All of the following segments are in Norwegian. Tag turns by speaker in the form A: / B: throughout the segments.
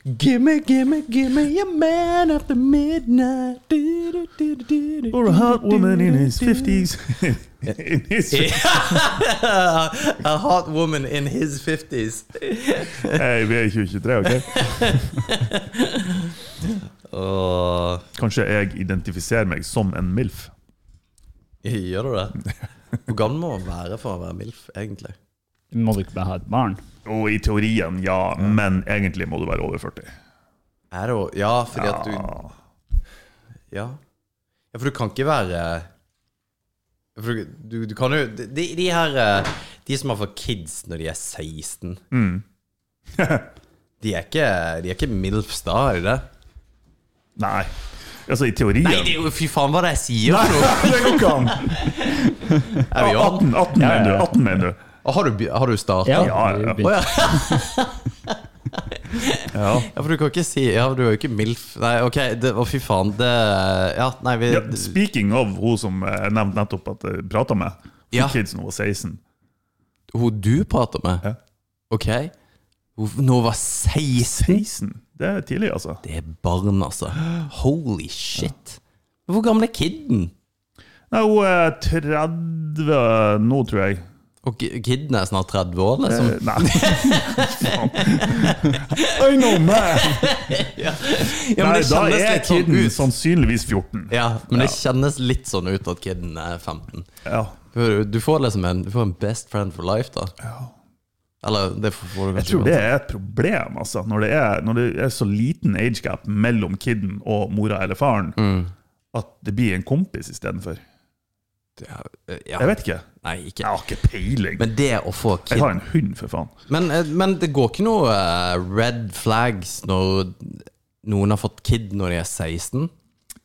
A: Gimme, gimme, gimme your man after midnight.
B: Or a hot woman in his 50s. in his
A: a hot woman in his 50s.
B: Hey, vi er i 2023, ok?
A: Åh,
B: Kanskje jeg identifiserer meg som en MILF.
A: gjør du det? Hvor gammel må man være for å være MILF, egentlig?
C: Må du ikke bare ha et barn?
B: Og i teorien, ja, men egentlig må du være over 40.
A: Er det jo Ja, fordi at du
B: Ja.
A: Ja. ja for du kan ikke være for du, du, du kan jo de, de her eh, De som har fått kids når de er 16 de, er ikke, de er ikke MILFs da, er de det?
B: Nei. Altså, i teorien
A: Nei, det er jo fy faen hva det er jeg sier for noe!
B: Det går ikke an!
A: Er vi on?
B: 18, 18
C: Ja,
B: mener du.
C: ja, ja.
B: 18 mener du.
A: Å, Har du, be- har du startet?
B: Ja, ja.
C: vi-
B: Ja.
A: Ja, for du kan ikke si Ja, du er jo ikke MILF. Nei, ok, det, å, fy faen. Det Ja, nei, vi
B: Ja, speaking of hun som eh, jeg nevnte nettopp at jeg prata med, fikk
A: Ja.
B: kids når hun var 16.
A: Hun du prater med?
B: Ja.
A: Ok? Hun nå var 16?
B: 16? Det er tidlig, altså.
A: Det er barn, altså. Holy shit. Hvor gammel er kiden?
B: Nei, hun er 30 nå, tror jeg.
A: Og ki- kiden er snart 30 år, liksom?
B: Eh, Nei. Faen. I know, man!
A: Ja,
B: Nei,
A: men det kjennes
B: da er
A: litt sånn
B: kiden
A: ut.
B: sannsynligvis 14.
A: Ja, men det kjennes litt sånn ut at kiden er 15.
B: Ja.
A: Du- Du får liksom en, du får en best friend for life, da. Eller det får får du
B: Jeg
A: kanskje
B: tror det er et problem, altså. Når det er, når det er så liten age gap mellom kiden og mora eller faren,
A: Mm.
B: at det blir en kompis istedenfor.
A: uansett. Ja,
B: Jeg vet ikke.
A: Nei, ikke
B: Jeg har ikke peiling.
A: Men det å få
B: Jeg
A: kid
B: har en hund, for faen.
A: men, eh, men det går ikke noe eh, red flags når noen har fått kid når de er 16?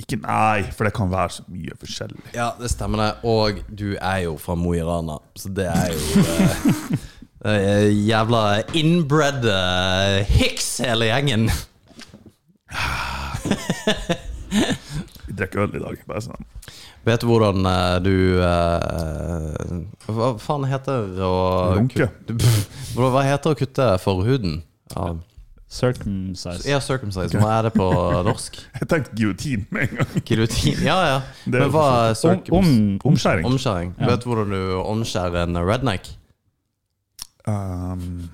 B: Ikke nei, for det kan være så mye forskjellig.
A: Ja, det stemmer det. Og du er jo fra Mo i Rana, så det er jo eh, eh, Jævla inbred eh, hicks, hele gjengen.
B: Vi drikker øl i dag. bare sånn.
A: Vet du hvordan eh, du eh, Hva faen heter det å
B: Runke.
A: kutte- Hva heter det å kutte forhuden? Ja,
C: Circumcised.
A: ja circumcise. Hva er det på norsk?
B: Jeg tenkte giljotin med en gang.
A: Giljotin? Ja, ja.
B: er jo
A: Men hva er
C: Om,
A: circum...
C: om,
B: Omskjæring.
A: Omskjæring. Vet du hvordan du omskjærer en redneck?
B: Um,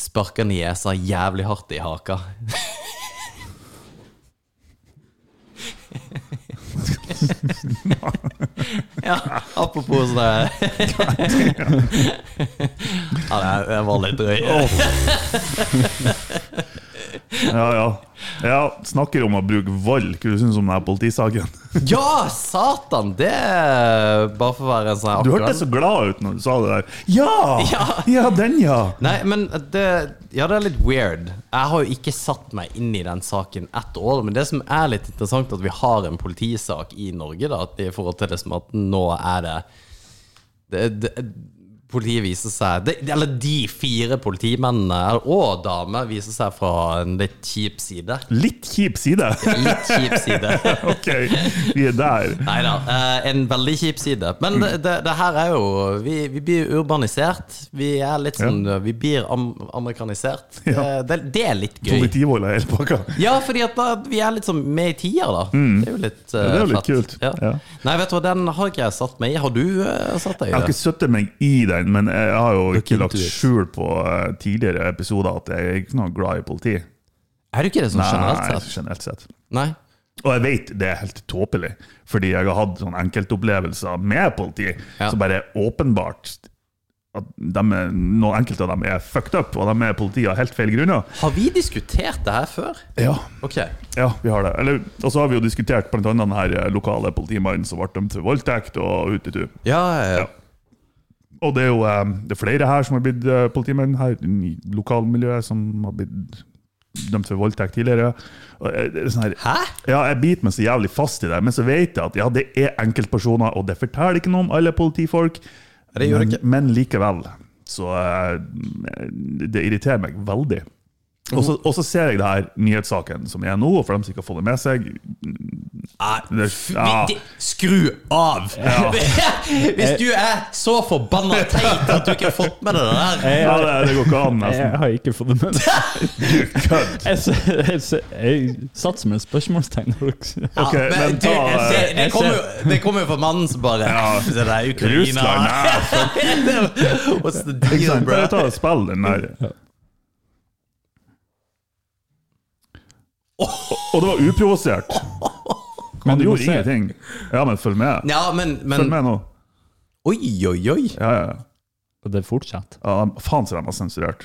A: Sparker niesa jævlig hardt i haka. ja, apropos sånn det Ja, det- det var litt drøy.
B: åh. ja, ja. ja. Snakker om å bruke vold. Hva syns du om denne politisaken?
A: Ja, satan! Det er bare for å være en sånn her
B: Du hørtes
A: akkurat-
B: så glad ut når du sa det der. Ja! Ja,
A: Ja.
B: den, ja!
A: Nei, men det, ja, det er litt weird. Jeg har jo ikke satt meg inn i den saken ett år. Men det som er litt interessant, at vi har en politisak i Norge da, at i forhold til det som at nå er det, det, det Politiet viser seg det, Eller de fire politimennene eller- og damer viser seg fra en litt kjip side.
B: Litt kjip side.
A: Litt kjip side.
B: ok, vi er der.
A: Nei da. eh, En veldig kjip side. Men det, det, det her er jo vi, vi blir urbanisert. Vi er litt sånn Vi blir am amerikanisert. Det, det, det er litt gøy.
B: Politivold er hele pakka.
A: Ja, fordi at da, vi er litt sånn med i tider, da. Det er jo litt, eh,
B: Mm. det er jo litt
A: fett.
B: kult.
A: Ja.
B: Ja.
A: Nei, vet du hva, den har ikke jeg satt meg i. Har du eh, satt deg i
B: Jeg har
A: det?
B: ikke sittet meg i den, men jeg har jo ikke
A: into
B: lagt
A: it.
B: skjul på eh, tidligere episoder at jeg er ikke noe glad i politi.
A: Er du ikke det sånn generelt
B: Nei,
A: sett?
B: generelt sett.
A: Nei.
B: Og jeg vet det er helt tåpelig, fordi jeg har hatt sånne enkeltopplevelser med politi
A: Ja.
B: som bare åpenbart at de er, noen enkelte av dem er fucked up, og de er politiet av helt feil grunner.
A: Har vi diskutert det her før?
B: Ja.
A: Ok.
B: Ja, vi har det. Eller, og så har vi jo diskutert blant annet den her lokale politimannen som ble dømt for voldtekt. Og utetu.
A: Ja, ja, ja.
B: Ja. Og det er jo eh, det er flere her som har blitt eh, politimenn her i lokalmiljøet som har blitt dømt for voldtekt tidligere. Og, eh, det er sånn her,
A: Hæ?
B: ja, jeg biter meg så jævlig fast i det, men så vet jeg at ja, det er enkeltpersoner, og det forteller ikke noe om alle politifolk,
A: det gjør det
B: men,
A: ikke.
B: men likevel. Så eh, det irriterer meg veldig. Og så og så ser jeg det her nyhetssaken som er nå, og for dem som ikke har fått det med seg
A: Nei,
B: det, ah. ja.
A: Ah, vi- det- Skru av! Hvis du er så forbanna teit at du ikke har fått med deg det der
B: Ja, det, det går ikke an, nesten.
C: Jeg har ikke fått det med meg.
B: Kødd.
C: Jeg, s- jeg, s- jeg satt som et spørsmålstegn. når dere-
B: Ok,
A: Ja,
B: men
A: du,
B: ta
A: det,
B: eh,
A: det, kommer jo, det kommer jo fra mannen som bare
B: Ja.
A: Det der
B: Russland.
A: Ukraina
B: ja, for
A: What's the deal,
B: sant. Bare
A: bro?
B: ta og spill den der. Og det var uprovosert.
C: Men
B: Han
C: du må
B: gjorde
C: se.
B: ingenting. Ja, men følg med.
A: Ja, men,
B: Følg
A: men
B: med nå.
A: Oi, oi, oi.
B: Ja, ja, ja.
C: Og det fortsetter.
B: ja. Faen så de har sensurert.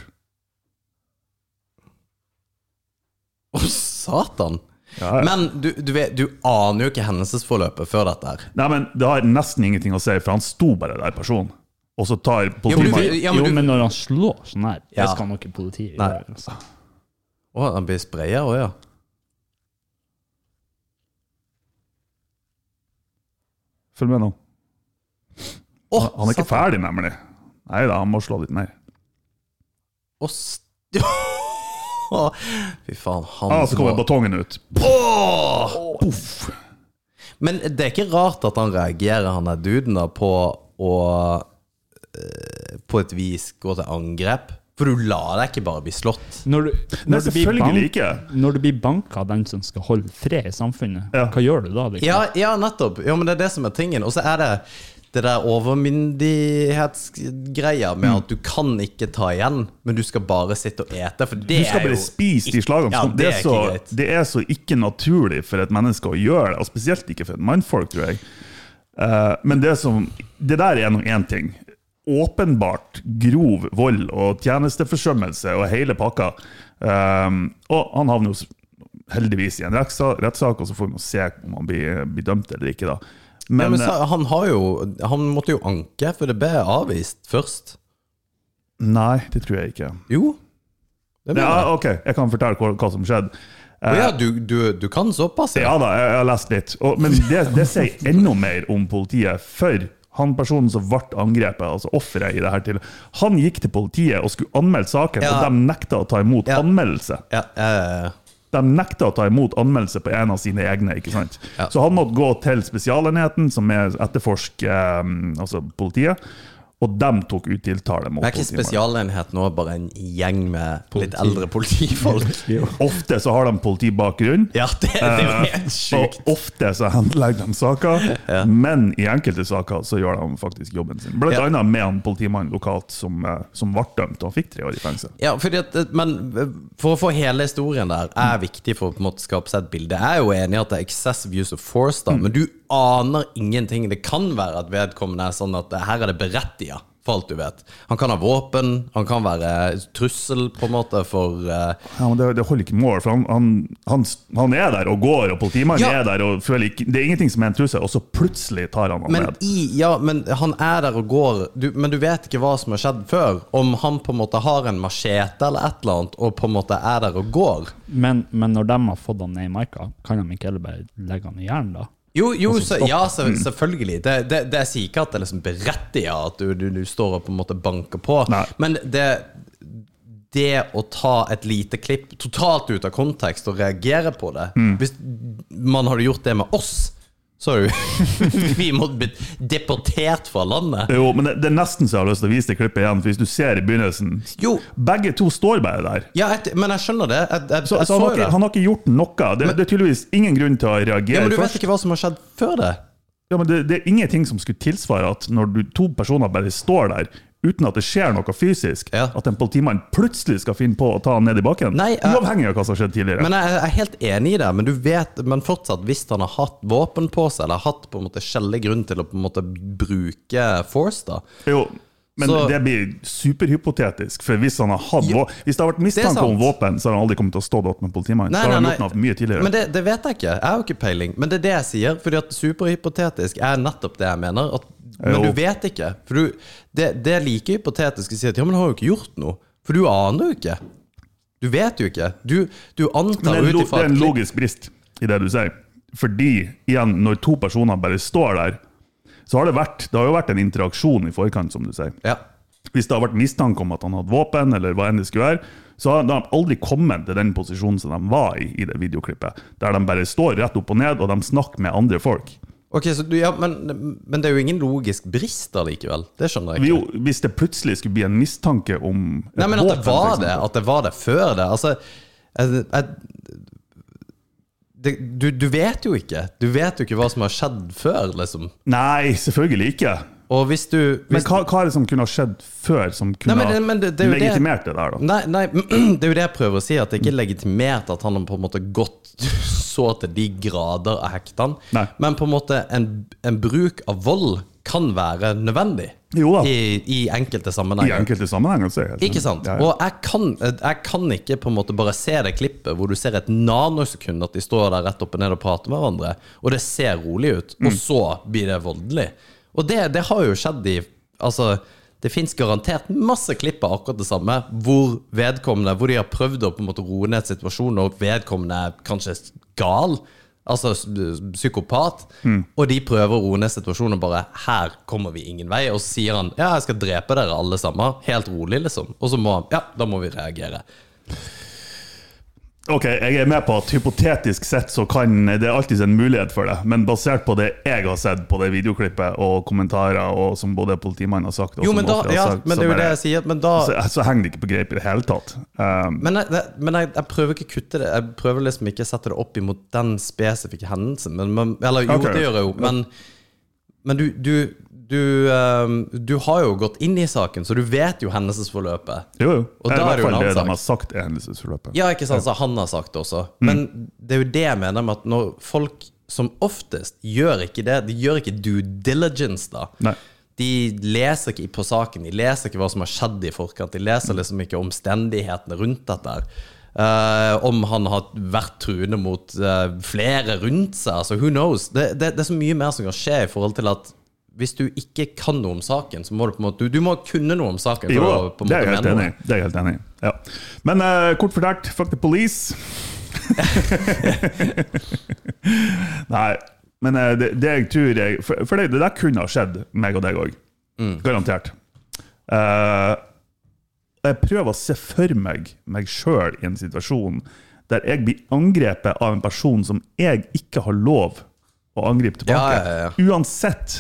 A: Å, satan.
B: Ja, ja.
A: Men du, du, vet, du aner jo ikke hendelsesforløpet før dette her.
B: Nei, men det har nesten ingenting å si, for han sto bare der personen. Og så tar
A: Ja, men du-
B: politimannen
A: ja,
C: jo,
A: men du,
C: men når han slår sånn her,
A: Ja.
C: det skal nok ikke politiet
A: Nei.
C: gjøre. Altså.
A: Å, han blir spraya òg, ja.
B: Følg med nå.
A: Å,
B: Han er ikke
A: satan.
B: ferdig, nemlig. Nei da, han må slå litt mer.
A: Å, s- Å, Fy faen, han
B: Ja, Ah, så kommer
A: var-
B: batongen ut.
A: Åh! Men det er ikke rart at han reagerer, han der duden, da, på å eh, På et vis gå til angrep. For du lar deg ikke bare bli slått.
C: Når du,
B: Nei,
C: når, du blir
B: selvfølgelig
C: bank,
B: ikke.
C: når du blir banka av den som skal holde fred i samfunnet,
B: Ja.
C: hva gjør du da? Liksom?
A: Ja, ja nettopp. Ja, men det er det som er tingen. Og så er det det der overmyndighetsgreia
B: Mm.
A: med at du kan ikke ta igjen, men du skal bare sitte og ete. For det
B: Du skal
A: er
B: bare
A: jo
B: spise de slagene.
A: Ja,
B: som-
A: det
B: det,
A: er
B: er så,
A: ikke greit.
B: det er så ikke naturlig for et menneske å gjøre det, og spesielt ikke for et mannfolk, tror jeg. Eh, men det, som, det der er nå én ting. Åpenbart grov vold og tjenesteforsømmelse og hele pakka. Um, og han havner jo s- heldigvis i en rettssak, rettssak, og så får vi nå se om han blir, blir dømt eller ikke.
A: ja,
B: da. Men, eh,
A: men sa- han, har jo, han måtte jo anke, for det ble avvist først.
B: eh, nei, det tror jeg ikke.
A: Jo. Det ble det.
B: Ja, OK, jeg kan fortelle hva, hva som skjedde.
A: Å ja, du, du, du kan såpass,
B: Eh, Ja da, jeg jeg har lest litt. Og, men det, det sier enda mer om politiet. For han personen som ble angrepet, altså offeret i det her til, han gikk til politiet og skulle anmelde saken,
A: Ja.
B: og de nekta å ta imot
A: Ja.
B: anmeldelse.
A: Ja, eh,
B: De nekta å ta imot anmeldelse på en av sine egne. ikke sant?
A: Ja.
B: Så han måtte gå til Spesialenheten, som er etterforsk, eh, altså politiet, og de tok ut tiltale mot
A: det er ikke
B: politimannen.
A: spesialenhet nå, bare en gjeng med litt
C: Politi.
A: eldre politifolk.
B: Ofte så har de politibakgrunn.
A: Ja, det, det er jo helt sjukt.
B: Eh, Og ofte så henlegger de saker, men i enkelte saker så gjør de faktisk jobben sin. Blant
A: Ja.
B: annet med han politimannen lokalt som, eh, som ble dømt og fikk tre år i fengsel.
A: Ja, fordi at, eh, men for å få hele historien der er viktig for å på en måte skape seg et bilde. Jeg er jo enig i at det er excessive use of force,
B: Mm.
A: da, men du aner ingenting. Det kan være at vedkommende er sånn at eh, her er det berettiga, for alt du vet. Han kan ha våpen, han kan være trussel på en måte for eh,
B: Ja, men det, det holder ikke mål, for han, han, han, han er der og går, og politimannen
A: Ja.
B: er der og føler ikke Det er ingenting som er en trussel, og så plutselig tar han han
A: Men,
B: ned.
A: i, ja, men han er der og går, du, men du vet ikke hva som har skjedd før. Om han på en måte har en machete eller et eller annet, og på en måte er der og går.
C: Men, men når de har fått han ned i marka, kan de ikke heller bare legge han i jern, da?
A: Jo, jo så, ja, så, selvfølgelig. Det, det, det jeg sier ikke at det er liksom berettiget at du, du, du står og på en måte banker på,
B: Nei.
A: men det det å ta et lite klipp totalt ut av kontekst og reagere på det Hvis man hadde gjort det med oss, så hadde jo vi måtte blitt deportert fra landet.
B: Jo, men det, det er nesten så jeg har lyst til å vise det klippet igjen, for hvis du ser i begynnelsen
A: Jo,
B: Begge to står bare der.
A: Ja, jeg, men jeg skjønner det. Jeg, jeg,
B: Så,
A: jeg
B: så
A: så,
B: han, har
A: jo
B: ikke,
A: det.
B: han har ikke gjort noe. Det, det er tydeligvis ingen grunn til å
A: ja,
B: reagere
A: men du
B: først.
A: vet ikke hva som har skjedd før det.
B: Ja, men det, det er ingenting som skulle tilsvare at når du, to personer bare står der uten at det skjer noe fysisk,
A: Ja.
B: at en politimann plutselig skal finne på å ta han ned i bakken.
A: Nei, jeg-
B: Uavhengig av hva som har skjedd tidligere.
A: Men jeg, jeg er helt enig i det, men du vet Men fortsatt, hvis han har hatt våpen på seg, eller hatt på en måte skjellig grunn til å på en måte bruke force, da
B: jo, Men
A: Så-
B: det blir superhypotetisk, for hvis, han har hatt,
A: Ja,
B: vå- hvis det har vært mistanke om
A: sant.
B: våpen, så har han aldri kommet til å stå der med politimannen.
A: Nei,
B: Da har han
A: nei,
B: gjort
A: nei.
B: noe mye tidligere.
A: Men det, det vet jeg ikke. Jeg har jo ikke peiling. Men det er det jeg sier. Fordi at superhypotetisk er nettopp det jeg mener. At, men
B: Jo.
A: du vet ikke. For du, det, det er like hypotetisk å si at ja, men du har jo ikke gjort noe. For du aner jo ikke. Du vet jo ikke. Du, du
B: Men
A: antar
B: det, er
A: ut
B: lo- det
A: ifra
B: er
A: et
B: en
A: klipp.
B: logisk brist i det du sier. Fordi, igjen, når to personer bare står der, så har det vært Det har jo vært en interaksjon i forkant, som du sier.
A: Ja.
B: Hvis det har vært mistanke om at han hadde våpen, eller hva enn det skulle være, så har de aldri kommet til den posisjonen som de var i i det videoklippet, der de bare står rett opp og ned, og de snakker med andre folk.
A: Ok, så du, ja, men, men det er jo ingen logisk brist allikevel. Det skjønner jeg ikke.
B: Jo, hvis det plutselig skulle bli en mistanke om et
A: Nei, men at det
B: våpen, for
A: var
B: eksempel.
A: det. At det var det før det. Altså jeg, jeg, det, du, du vet jo ikke. Du vet jo ikke hva som har skjedd før, liksom.
B: Nei, selvfølgelig ikke.
A: Og hvis du
B: Men
A: hvis
B: hva, hva er det som kunne ha skjedd før, som kunne
A: Nei, men det- men det- det er jo det-
B: legitimert det der, da?
A: Nei, nei, det er jo det jeg prøver å si, at det ikke er legitimert at han har på en måte gått så til de grader av hektene.
B: Nei.
A: Men på en måte, en, en bruk av vold kan være nødvendig
B: Jo da.
A: I, i enkelte
B: I
A: sammenhenger.
B: enkelte sammenhenger, så er jeg helt
A: Ikke sant?
B: Ja, ja.
A: Og jeg kan, jeg kan ikke på en måte bare se det klippet hvor du ser et nanosekund at de står der rett opp og ned og prater med hverandre, og det ser rolig ut, og så blir det voldelig. Og det, det har jo skjedd i Altså, det fins garantert masse klipp av akkurat det samme hvor vedkommende Hvor de har prøvd å på en måte roe ned situasjonen, og vedkommende er kanskje gal. Altså s- psykopat.
B: Mm.
A: Og de prøver å roe ned situasjonen og bare 'Her kommer vi ingen vei.' Og så sier han 'Ja, jeg skal drepe dere alle sammen'. Helt rolig, liksom. Og så må han Ja, da må vi reagere.
B: Ok, jeg er med på at hypotetisk sett så kan det er alltid en mulighet for det, men basert på det jeg har sett på det videoklippet og kommentarer og som både politimannen har sagt og
A: Jo,
B: som
A: men da
B: offeret har
A: Ja,
B: sagt,
A: men
B: så
A: det er jo det
B: bare-
A: jeg sier. Men da
B: så, så henger det ikke på greip i det hele tatt. Um,
A: Men, jeg, det- men jeg, jeg prøver ikke å kutte det. Jeg prøver liksom ikke å sette det opp imot den spesifikke hendelsen. Men, men, eller jo,
B: Ok.
A: det gjør jeg jo, men, men du, du, du, eh, du har jo gått inn i saken, så du vet jo hendelsesforløpet.
B: jo, jo.
A: Og
B: det
A: da er
B: er i
A: det
B: hvert
A: jo
B: fall
A: en
B: det
A: annen
B: de
A: sak.
B: har sagt er hendelsesforløpet.
A: Ja, ikke sant, så han har sagt det også. Men
B: Mm.
A: det er jo det jeg mener med at når folk som oftest gjør ikke det, de gjør ikke due diligence da.
B: Nei.
A: De leser ikke på saken, de leser ikke hva som har skjedd i forkant, de leser liksom ikke omstendighetene rundt dette. her. Eh, om han har vært truende mot eh, flere rundt seg, altså who knows? Det, det, det er så mye mer som kan skje i forhold til at hvis du ikke kan noe om saken, så må du på en måte, du, du må kunne noe om saken. for
B: Jo,
A: å på en
B: det er
A: måte
B: jeg helt
A: mene noe.
B: enig i. Det er jeg helt enig i. Ja. Men eh, kort fortalt, fuck the police. Nei, men eh, det, det jeg tror jeg For, for det, det der kunne ha skjedd meg og deg òg.
A: Mm.
B: Garantert. Eh, jeg prøver å se for meg meg sjøl i en situasjon der jeg blir angrepet av en person som jeg ikke har lov å angripe tilbake.
A: Ja, ja, ja.
B: Uansett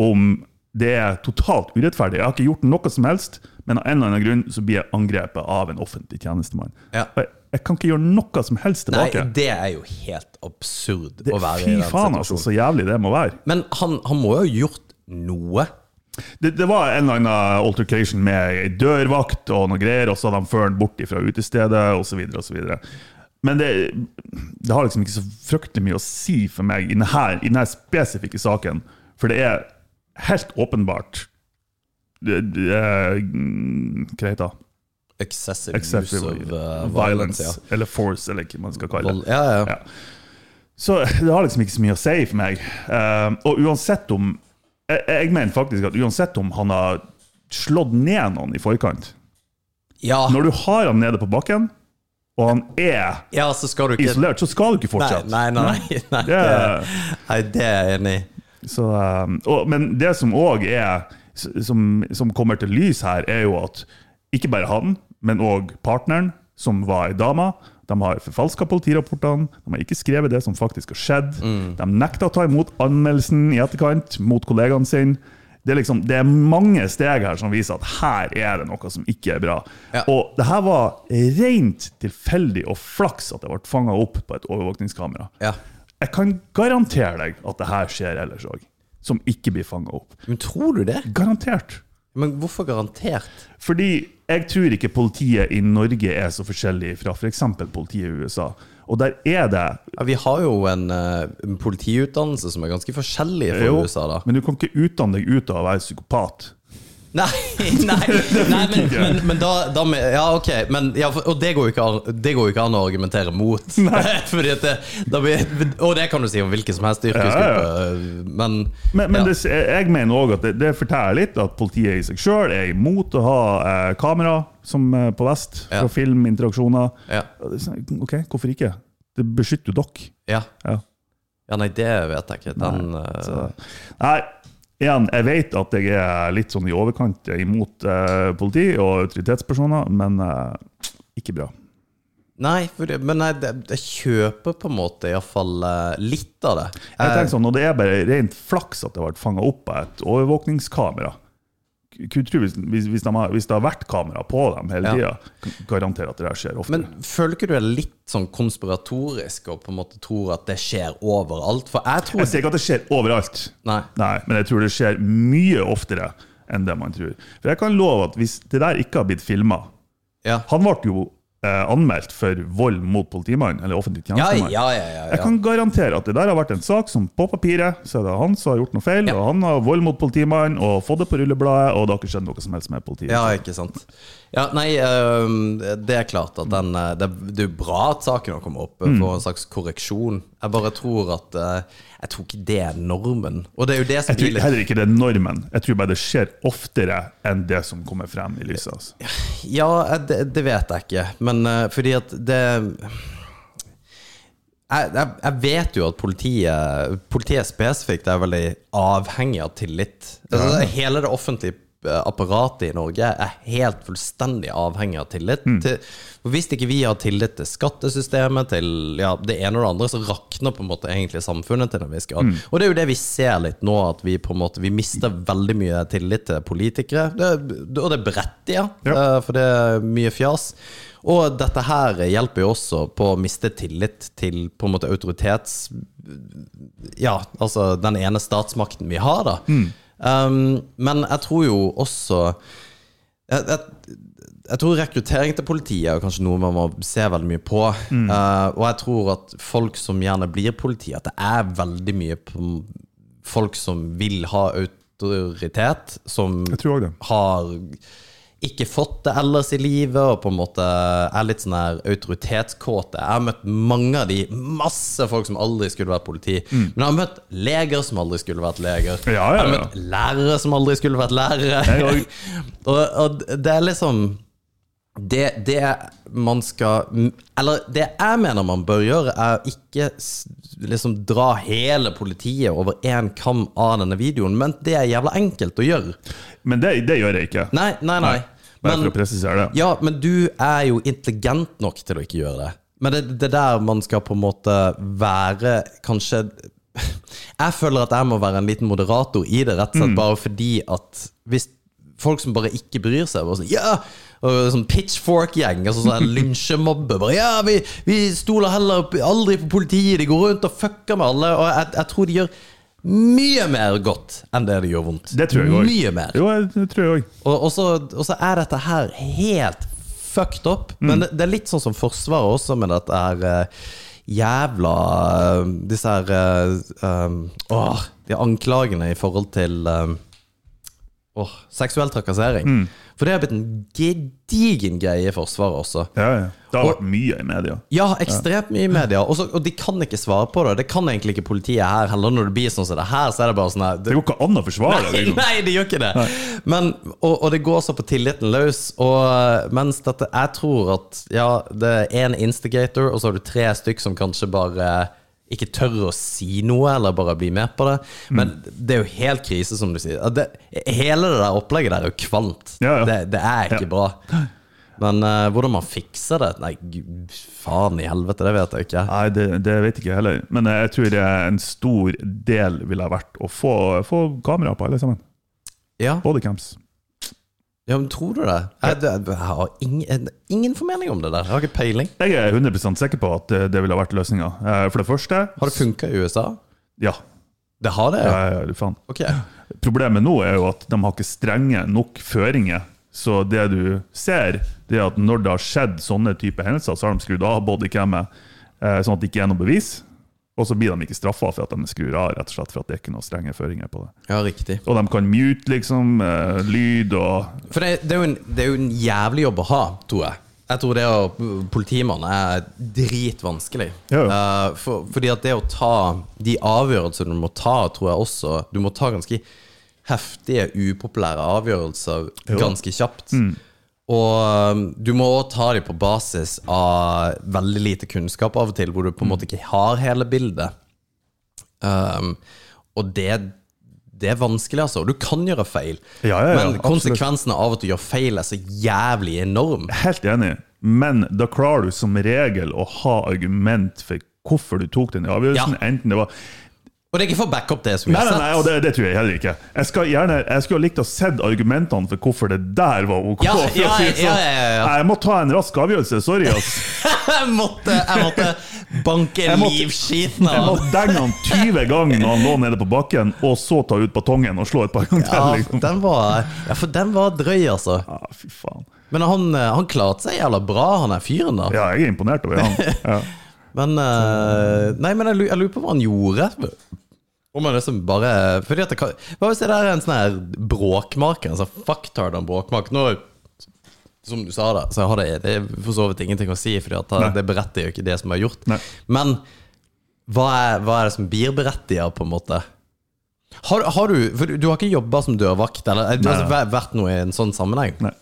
B: om det er totalt urettferdig. Jeg har ikke gjort noe som helst, men av en eller annen grunn så blir jeg angrepet av en offentlig tjenestemann.
A: Ja.
B: Og Jeg, jeg kan ikke gjøre noe som helst tilbake.
A: Nei, det er jo helt absurd
B: det,
A: å være
B: fy
A: i den
B: faen,
A: situasjonen.
B: altså, så jævlig det må være.
A: Men han, han må jo ha gjort noe.
B: Det, det var en eller annen altercation med ei dørvakt og noe greier, og så hadde han ført den bort fra utestedet, osv., osv. Men det, det har liksom ikke så fryktelig mye å si for meg i denne, i denne spesifikke saken, for det er helt åpenbart det, det, er- mm, Hva heter det?
A: Excessive,
B: Excessive
A: use of uh, violence.
B: violence, eller force, eller hva man skal
A: Ja.
B: kalle
A: Vold-
B: det.
A: Ja, ja.
B: Ja. Så det har liksom ikke så mye å si for meg. Eh, og uansett om jeg, jeg mener faktisk at uansett om han har slått ned noen i forkant
A: Ja.
B: Når du har han nede på bakken, og han er
A: ja, så skal du ikke
B: isolert, så skal du ikke
A: Nei,
B: fortsette.
A: nei, nei. nei, nei,
B: Det er-
A: det, nei det er jeg enig i.
B: Så, um, og, men det som òg er som, som kommer til lys her, er jo at ikke bare han, men òg partneren, som var ei dame, de har forfalska politirapportene, de har ikke skrevet det som faktisk har skjedd.
A: Mm.
B: De nekta å ta imot anmeldelsen i etterkant mot kollegaen sin. Det er, liksom, det er mange steg her som viser at her er det noe som ikke er bra.
A: Ja.
B: Og det her var rent tilfeldig og flaks at det ble fanga opp på et overvåkningskamera.
A: Ja.
B: Jeg kan garantere deg at det her skjer ellers òg, som ikke blir fanga opp.
A: Men tror du det?
B: Garantert.
A: Men hvorfor garantert?
B: Fordi jeg tror ikke politiet i Norge er så forskjellig fra f.eks. politiet i USA. Og der er det
A: Ja, vi har jo en, eh, en politiutdannelse som er ganske forskjellig fra
B: Jo,
A: USA, da.
B: Men du kan ikke utdanne deg ut av å være psykopat.
A: Nei, nei, nei men,
B: ikke.
A: men, men da, da med, Ja, ok. Men, ja, for, og det går, jo ikke an, det går jo ikke an å argumentere mot. Fordi at det, da blir, og det kan du si om hvilken som helst yrkesgruppe, eh, men,
B: Men, men
A: ja.
B: det, jeg mener òg at det, det forteller litt at politiet i seg sjøl er imot å ha eh, kamera som eh, på vest
A: Ja.
B: for filminteraksjoner.
A: Ja.
B: Og det er sånn, OK, hvorfor ikke? Det beskytter jo dere.
A: Ja.
B: Ja.
A: ja, nei, det vet jeg ikke. Den eh,
B: Så, nei, igjen, jeg vet at jeg er litt sånn i overkant imot eh, politi og autoritetspersoner, men eh, ikke bra.
A: Nei, for det, men nei, det, jeg kjøper på en måte iallfall eh, litt av det.
B: Jeg tenker sånn, og Det er bare rent flaks at det har vært fanga opp av et overvåkningskamera. Kunne tro hvis, hvis, hvis, de har, hvis det har vært kamera på dem hele
A: Ja.
B: tida, tida, garanterer at det der skjer ofte.
A: Men føler ikke du er litt sånn konspiratorisk og på en måte tror at det skjer overalt? For jeg tror
B: Jeg sier ikke at det skjer overalt,
A: Nei.
B: Nei, men jeg tror det skjer mye oftere enn det man tror. For jeg kan love at hvis det der ikke har blitt filma
A: Ja,
B: Han ble jo eh, anmeldt for vold mot politimann, eller offentlig
A: ja,
B: tjenestemann.
A: ja. ja, ja,
B: Jeg
A: ja.
B: kan garantere at det der har vært en sak som på papiret så er det han som har gjort noe feil,
A: Ja.
B: og han har vold mot politimannen og fått det på rullebladet, og det har ikke skjedd noe som helst med politiet.
A: Ja, ikke sant. Ja, nei, øhm, det er klart at den øh, Det er det er jo bra at saken har kommet opp øh,
B: Mm.
A: for en slags korreksjon. Jeg bare tror at øh, Jeg tror ikke det er normen. Og det er jo det som
B: Jeg
A: blir
B: tror
A: litt
B: heller ikke det er normen. Jeg tror bare det skjer oftere enn det som kommer frem i lyset. Altså.
A: Ja, eh, det, det vet jeg ikke. Men eh, fordi at det jeg, jeg, jeg vet jo at politiet, politiet spesifikt er veldig avhengig av tillit. Altså, Hele det offentlige eh, apparatet i Norge er helt fullstendig avhengig av tillit. Til, for hvis ikke vi har tillit til skattesystemet, til ja, det ene og det andre, så rakner på en måte egentlig samfunnet til en viss grad. Og det er jo det vi ser litt nå, at vi på en måte vi mister veldig mye tillit til politikere. Det, det- og det er berettiget,
B: Ja.
A: eh, for det er mye fjas. Og dette her hjelper jo også på å miste tillit til på en måte autoritets... Ja, altså den ene statsmakten vi har, da. Um, men jeg tror jo også jeg, jeg, jeg tror rekruttering til politiet er jo kanskje noe man må se veldig mye på. Eh, og jeg tror at folk som gjerne blir politi, at det er veldig mye på folk som vil ha autoritet, som
B: Jeg tror òg det.
A: har ikke fått det ellers i livet, og på en måte er litt sånn her autoritetskåte. Jeg har møtt mange av de, masse folk som aldri skulle vært politi. Men jeg har møtt leger som aldri skulle vært leger.
B: Mm. Ja, ja,
A: Jeg har
B: ja.
A: møtt lærere som aldri skulle vært
B: Jeg
A: lærere.
B: òg.
A: og, og det er liksom det, det man skal Eller det jeg mener man bør gjøre, er ikke s- liksom dra hele politiet over én kam av denne videoen, men det er jævla enkelt å gjøre.
B: Men det, det gjør jeg ikke.
A: Nei, nei, nei.
B: Bare
A: Men,
B: for å presisere det.
A: ja, men du er jo intelligent nok til å ikke gjøre det. Men det det er der man skal på en måte være kanskje Jeg føler at jeg må være en liten moderator i det, rett og
B: Mm.
A: slett bare fordi at hvis folk som bare ikke bryr seg, bare sånn Ja! Og sånn pitchfork-gjeng, altså sånn her lynsjemobbe. Bare, ja, vi, vi stoler heller aldri på politiet, de går rundt og fucker med alle. Og jeg, jeg tror de gjør mye mer godt enn det de gjør vondt.
B: Det tror jeg òg.
A: Mye mer.
B: Jo, jeg, det tror jeg òg.
A: Og, og, så, og så er dette her helt fucked up. Men det, det er litt sånn som Forsvaret også, med dette her eh, jævla eh, Disse her eh, um, Åh, de anklagene i forhold til eh, åh, seksuell trakassering. For det har blitt en gedigen greie i Forsvaret også.
B: Ja, ja. Det har vært mye i media.
A: Ja, ekstremt mye i media, og, så, og de kan ikke svare på det. Det kan egentlig ikke politiet her heller. Når det blir sånn som det her, så er det bare sånn her
B: Det går ikke an å forsvare det. liksom.
A: Nei, det gjør ikke det. Men, og, og det går så på tilliten løs. Og eh, mens dette Jeg tror at ja, det er én instigator, og så har du tre stykk som kanskje bare ikke tør å si noe, eller bare bli med på det.
B: Mm.
A: Men det er jo helt krise, som du sier. Ja, Det, hele det der opplegget der er jo kvalmt.
B: Ja, ja.
A: Det, det er ikke
B: Ja.
A: bra. Men eh, hvordan man fikser det Nei, gud, faen i helvete, det vet jeg ikke.
B: Nei, det, det vet jeg ikke heller. Men eh, jeg tror det er en stor del ville ha vært å få, få kamera på alle sammen.
A: Ja,
B: Bodycams.
A: ja men tror du det? Jeg, jeg, jeg har ingen, ingen formening om det der. Jeg har ikke peiling.
B: Jeg er 100 sikker på at eh, det ville ha vært løsninga. For det første
A: Har det funka i USA?
B: Ja.
A: Det har det?
B: ja,
A: Ja.
B: ja, faen.
A: Ok.
B: Problemet nå er jo at de har ikke strenge nok føringer. Så det du ser, det er at når det har skjedd sånne type hendelser, så har de skrudd av bodycamet, eh, sånn at det ikke er noe bevis. Og så blir de ikke straffa for at de skrur av, rett og slett for at det er ikke noen strenge føringer på det.
A: Ja, riktig.
B: Og de kan mute, liksom, eh, lyd og
A: For det, det, er jo en, det er jo en jævlig jobb å ha, tror jeg. Jeg tror det å politimann er dritvanskelig.
B: Ja,
A: Eh, for, fordi at det å ta de avgjørelsene du må ta, tror jeg også Du må ta ganske heftige, upopulære avgjørelser ganske kjapt. Og um, du må også ta dem på basis av veldig lite kunnskap av og til, hvor du på en måte ikke har hele bildet. Um, og det, det er vanskelig, altså. Du kan gjøre feil,
B: Ja, ja, ja,
A: men
B: absolutt.
A: konsekvensene av at du gjør feil, er så jævlig enorm.
B: Helt enig, men da klarer du som regel å ha argument for hvorfor du tok den avgjørelsen.
A: Ja.
B: Enten det var
A: Og det er ikke for å backe opp det som vi
B: Nei,
A: har
B: nei, nei og
A: sett.
B: det, det tror jeg heller ikke. Jeg, skal gjerne, jeg skulle ha likt å sett argumentene for hvorfor det der var OK.
A: Ja,
B: for å
A: ja,
B: si det sånn.
A: ja, ja, ja.
B: Nei, Jeg må ta en rask avgjørelse. Sorry, ass.
A: Jeg måtte, jeg måtte banke
B: Jeg måtte-
A: livskiten
B: Jeg
A: av
B: må denge han 20 ganger når han lå nede på bakken, og så ta ut batongen og slå et par ganger
A: ja,
B: til. Liksom.
A: den var, ja, for den var drøy, altså.
B: Ja, fy faen.
A: Men han, eh, han klarte seg jævla bra, han er fyren, da.
B: Ja, jeg er imponert over han. Ja.
A: Men eh, Nei, men jeg, lu- jeg lurer på hva han gjorde. Om han liksom bare Fordi at det kan, Hva hvis det der er en sånn her bråkmaker? Altså fucktard av en bråkmaker. Nå, som du sa, da, så har det, det er for så vidt ingenting å si, Fordi at
B: Nei.
A: det beretter jo ikke det som er gjort.
B: Nei.
A: Men hva er, hva er det som blir berettiget, på en måte? Har, har du For du, du har ikke jobba som dørvakt, eller du har
B: Nei, nei.
A: væ- vært noe i en sånn sammenheng?
B: Nei.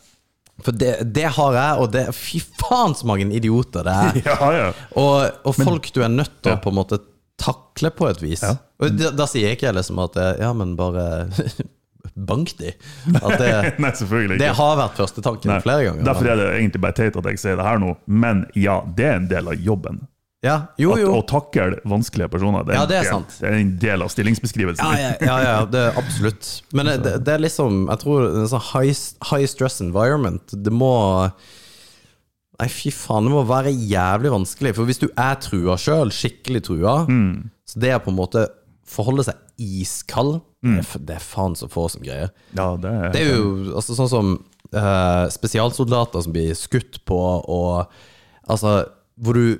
A: For det, det har jeg, og det Fy faen så mange idioter det er!
B: Ja, ja.
A: Og, og folk du er nødt til
B: Ja.
A: å på en måte takle på et vis.
B: Ja.
A: Og da, da sier ikke jeg liksom at eh, Ja, men bare bank de. At det,
B: Nei, selvfølgelig
A: det
B: ikke.
A: har vært førstetanken
B: Nei.
A: flere ganger.
B: Derfor er det egentlig bare teit at jeg sier det her nå, men ja, det er en del av jobben.
A: ja, jo,
B: At
A: jo.
B: Å takle vanskelige personer det
A: Ja, det er
B: en-
A: sant.
B: Det er en del av stillingsbeskrivelsen.
A: Ja, ja, ja, ja det, er absolutt. Men det, det er liksom Jeg tror det er en sånn high, high stress environment Det må Nei, fy faen, det må være jævlig vanskelig. For hvis du er trua sjøl, skikkelig trua,
B: Mm.
A: så det er på en måte forholde seg iskald
B: Mm.
A: det, er, f- det er faen så få som greier.
B: Ja, det er,
A: Det er jo altså, sånn som eh, spesialsoldater som blir skutt på, og altså hvor du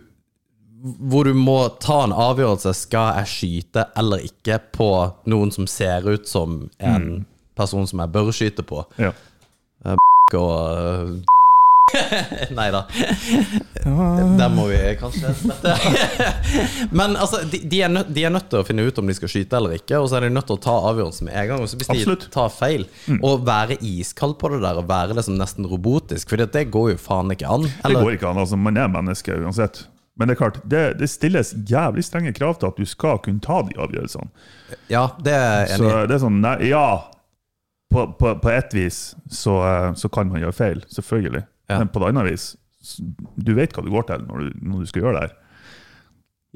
A: hvor du må ta en avgjørelse Skal jeg skyte eller ikke På noen som ser ut som En person som jeg bør skyte på
B: ja.
A: Og eh, Neida Der må vi kanskje slette. Men altså de, de, er nødt, de er nødt til å finne ut om de skal skyte eller ikke Og så er de nødt til å ta avgjørelsen med en gang Og så hvis
B: Absolutt. Mm.
A: de tar feil Og være iskald på det der Og være liksom nesten robotisk Fordi at det går jo faen ikke an
B: Det
A: Eller-
B: går ikke an. altså Man er menneske uansett. Men det er klart, det, det stilles jævlig strenge krav til at du skal kunne ta de avgjørelsene.
A: Ja, det er jeg enig i
B: Så det er sånn, nei, ja På, på, på ett vis så, eh, så kan man gjøre feil, selvfølgelig.
A: Ja.
B: Men på det andre vis s- Du vet hva du går til når du, når du skal gjøre det her.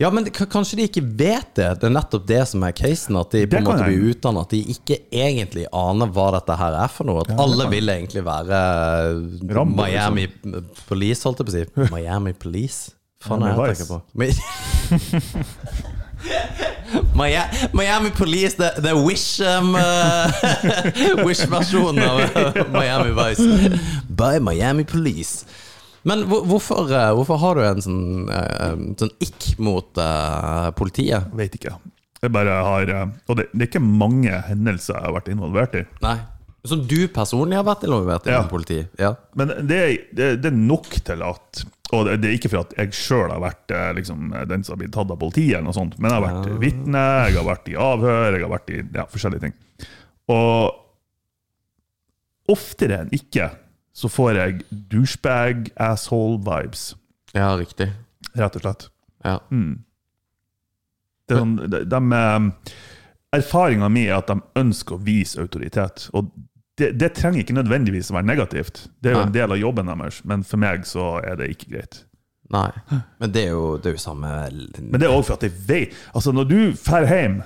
A: Ja, men k- kanskje de ikke vet det. Det er nettopp det som er casen. At de på
B: Det
A: en
B: kan
A: måte
B: jeg.
A: blir utdannet. At de ikke egentlig aner hva dette her er for noe. At alle vil egentlig være eh,
B: Rambo, liksom.
A: Miami Police, holdt jeg på å si. Miami Police? Faen er det jeg
B: Miami
A: tenker på? Mi- Mia- Miami Police, det det er Wish um, eh, Wish-versjonen av uh, Miami Vice. By Miami Police. Men hvor- hvorfor, eh, hvorfor har du en sånn, eh, em, sånn ikk mot eh, politiet?
B: Vet ikke. Jeg bare har eh, Og det, det er ikke mange hendelser jeg har vært involvert i.
A: Nei. Som du personlig har vært involvert i
B: Ja.
A: med politi? Ja.
B: Men det, er- det, det er nok til at Og det det er ikke for at jeg sjøl har vært eh, liksom, den som har blitt tatt av politiet, eller noe sånt, men jeg har vært vitne, jeg har vært i avhør, jeg har vært i ja, forskjellige ting. Og oftere enn ikke så får jeg douchebag asshole-vibes,
A: ja, riktig.
B: rett og slett.
A: Ja.
B: Mm. Det er sånn, de, de, erfaringa mi er at de ønsker å vise autoritet. Og det, det trenger ikke nødvendigvis å være negativt. Det er jo en
A: Nei.
B: del av jobben deres, men for meg så er det ikke greit.
A: Nei. Men det er jo, det er jo samme
B: Men det er òg for at jeg vet Altså, når du drar hjem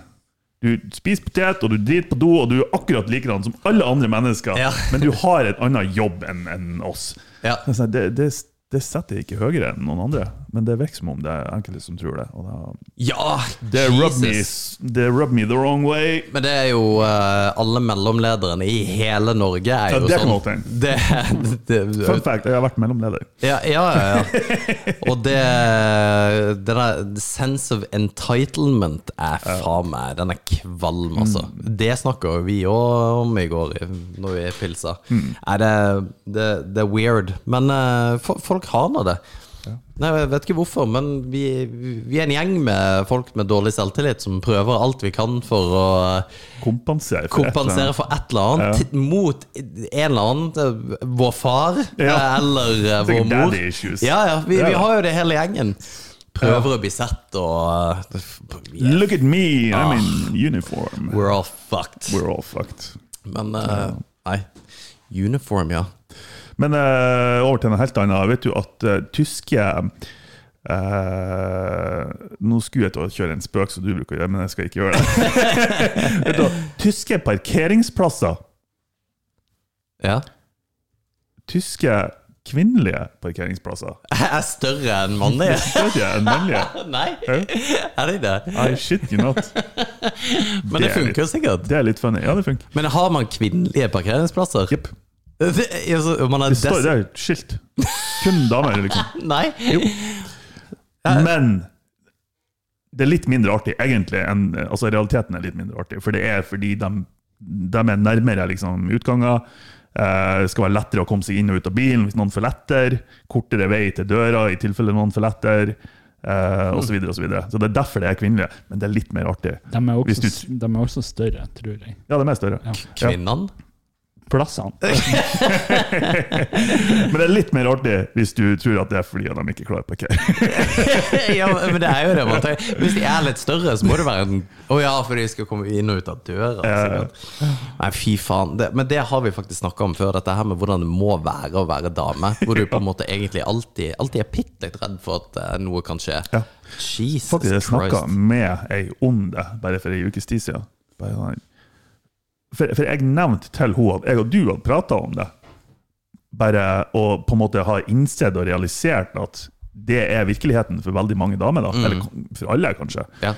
B: du spiser potet, og du driter på do, og du er akkurat likedan som alle andre mennesker,
A: Ja.
B: men du har en annen jobb enn enn oss. Altså,
A: ja.
B: Det, er sånn, det, det, det setter jeg ikke høyere enn noen andre. men det virker som om det er enkelte som tror det. Og det,
A: Ja!
B: det, rub me,
A: Jesus.
B: det rub me the wrong way.
A: Men det er jo eh, alle mellomlederne i hele Norge er
B: Ja,
A: jo
B: det Sånn. kan godt
A: sånn.
B: hende.
A: Det, det,
B: Fun fact, jeg har vært mellomleder.
A: ja, ja, ja, ja. Og det, det der sense of entitlement er faen meg Den er kvalm, altså.
B: Mm.
A: Det snakka jo vi òg om i går i- når vi pilsa.
B: Mm.
A: Nei, det, det, det er weird. Men eh, fo- folk har nå det. Nei, Jeg vet ikke hvorfor, men vi, vi er en gjeng med folk med dårlig selvtillit som prøver alt vi kan for å
B: Kompensere. for et eller
A: kompensere
B: annet.
A: for et eller annet til- mot en eller annen. eh, Vår far
B: Ja.
A: eh, eller eh, vår
B: Sikkert
A: mor.
B: daddy issues.
A: Ja, ja, vi,
B: Ja.
A: vi har jo det hele gjengen. Prøver å bli sett og eh, vi er-
B: Look at me, I'm in uniform.
A: We're all fucked.
B: We're all fucked.
A: Men eh, nei. Uniform, ja.
B: Men eh, over til noe helt annet. Vet du at eh, tyske eh, Nå skulle jeg til å kjøre en spøk som du bruker å gjøre, men jeg skal ikke gjøre det. Vet du, hva? tyske parkeringsplasser,
A: ja.
B: tyske kvinnelige parkeringsplasser,
A: Er større enn mannlige?
B: det er ikke enn mennlige.
A: nei, er de det?
B: I shit you not.
A: Men det
B: Det er litt-
A: funker jo sikkert.
B: Det er litt funny. Ja, det funker.
A: Men har man kvinnelige parkeringsplasser?
B: Jepp.
A: Det, altså, man er
B: Det står
A: des-
B: der, skilt. Kun damer, liksom.
A: Nei.
B: Men det er litt mindre artig, egentlig. Enn, altså Realiteten er litt mindre artig, for det er fordi de, de er nærmere liksom, utganger. Eh, Det skal være lettere å komme seg inn og ut av bilen hvis noen forletter. Kortere vei til døra i tilfelle noen forletter. Eh, og så, videre, og så, videre. så det er derfor det er kvinnelige, men det er litt mer artig.
C: De er
B: Hvis du-
C: også, s- de er også større, tror jeg.
B: Ja, de er større.
C: Ja.
B: Ja.
A: Kvinnene?
C: Plassene.
B: Men det er litt mer artig hvis du tror at det er fordi de ikke klarer å parkere.
A: ja, men det er jo det. Man tenker. Hvis de er litt større, så må det være en Å ja, for de skal komme inn og ut av døra. sikkert. Nei, fy faen. Det, men det har vi faktisk snakka om før, dette her med hvordan det må være å være dame. Hvor du på en måte egentlig alltid, alltid er bitte litt redd for at eh, noe kan skje.
B: Ja.
A: Jesus
B: Faktisk, jeg snakka
A: Christ.
B: med ei om det bare for ei ukes tid siden. Bare sånn- For, for jeg nevnte til henne at jeg og du hadde prata om det. Bare å på en måte ha innsett og realisert at det er virkeligheten for veldig mange damer. da, Eller for alle, kanskje.
A: Mm. Ja.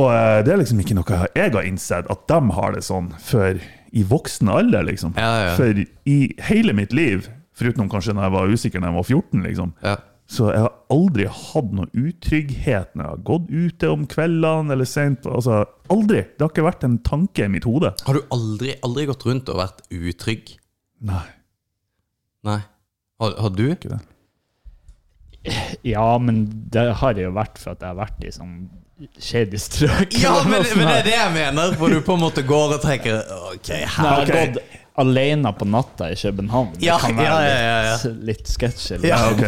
B: Og eh, det er liksom ikke noe jeg har innsett, at de har det sånn før i voksen alder. liksom.
A: Ja, ja.
B: For i hele mitt liv, foruten kanskje når jeg var usikker da jeg var 14, liksom,
A: Ja.
B: så jeg har aldri hatt noe utrygghet når jeg har gått ute om kveldene eller sent. Altså, aldri! Det har ikke vært en tanke i mitt hode.
A: Har du aldri, aldri gått rundt og vært utrygg?
B: Nei,
A: Nei. Har, har du?
B: ikke det.
C: Ja, men det har jeg jo vært for at jeg har vært i sånn shady strøk.
A: Ja,
C: eller
A: men,
C: noe sånt
A: men det
C: her.
A: er det jeg mener! Hvor du på en måte går og tenker OK,
C: Nei,
A: her
C: Sånn jeg har gått alene på natta i København.
A: Ja,
C: det kan være
A: ja, ja, ja, ja.
C: litt, litt sketsjy.
A: Ja.
B: Ja, ok.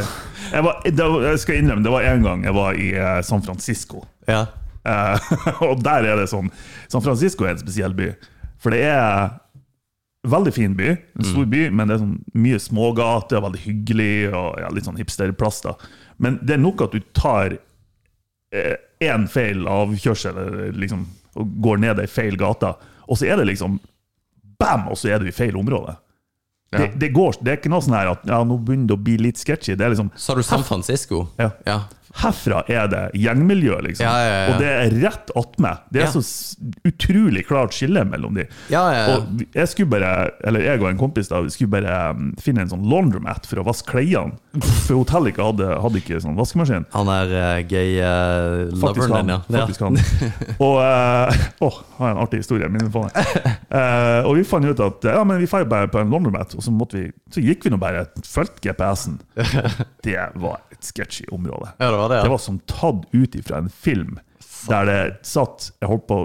B: jeg, var, det var, jeg skal innrømme, det var en gang jeg var i eh, San Francisco.
A: Ja.
B: Eh, og der er det sånn. San Francisco er en spesiell by. For det er veldig fin by, en stor by, men det er sånn mye smågater, veldig hyggelig og ja, litt sånn hipsterplass. da. Men det er nok at du tar én feil avkjørsel eller liksom, og går ned ei feil gate, og så er det liksom bam, og så er du i feil område. Det, det, går, det er ikke noe sånn her at ja, nå begynner det å bli litt sketchy. Det er liksom
A: Sa du San Francisco?
B: Ja.
A: ja.
B: Herfra er det gjengmiljø, liksom.
A: Ja, ja, ja.
B: Og det er rett attmed. Det er
A: Ja.
B: så s- utrolig klart skille mellom de.
A: Ja, ja, ja.
B: Og vi- jeg skulle bare, eller jeg og en kompis da, vi skulle bare um, finne en sånn laundromat for å vaske klærne. For hotellet ikke hadde, hadde ikke sånn vaskemaskin.
A: Han er eh, gay uh,
B: Faktisk
A: loveren din,
B: han.
A: ja. Ja.
B: Faktisk han. Og eh, Å, har jeg en artig historie. jeg Minner på det. Eh, og vi fant ut at ja, men vi drar bare på en laundromat, og så, måtte vi, så gikk vi nå bare fulgte GPS-en. Og Det var et sketchy område.
A: Ja, det var det, ja.
B: det var som tatt ut ifra en film der det satt Jeg holdt på,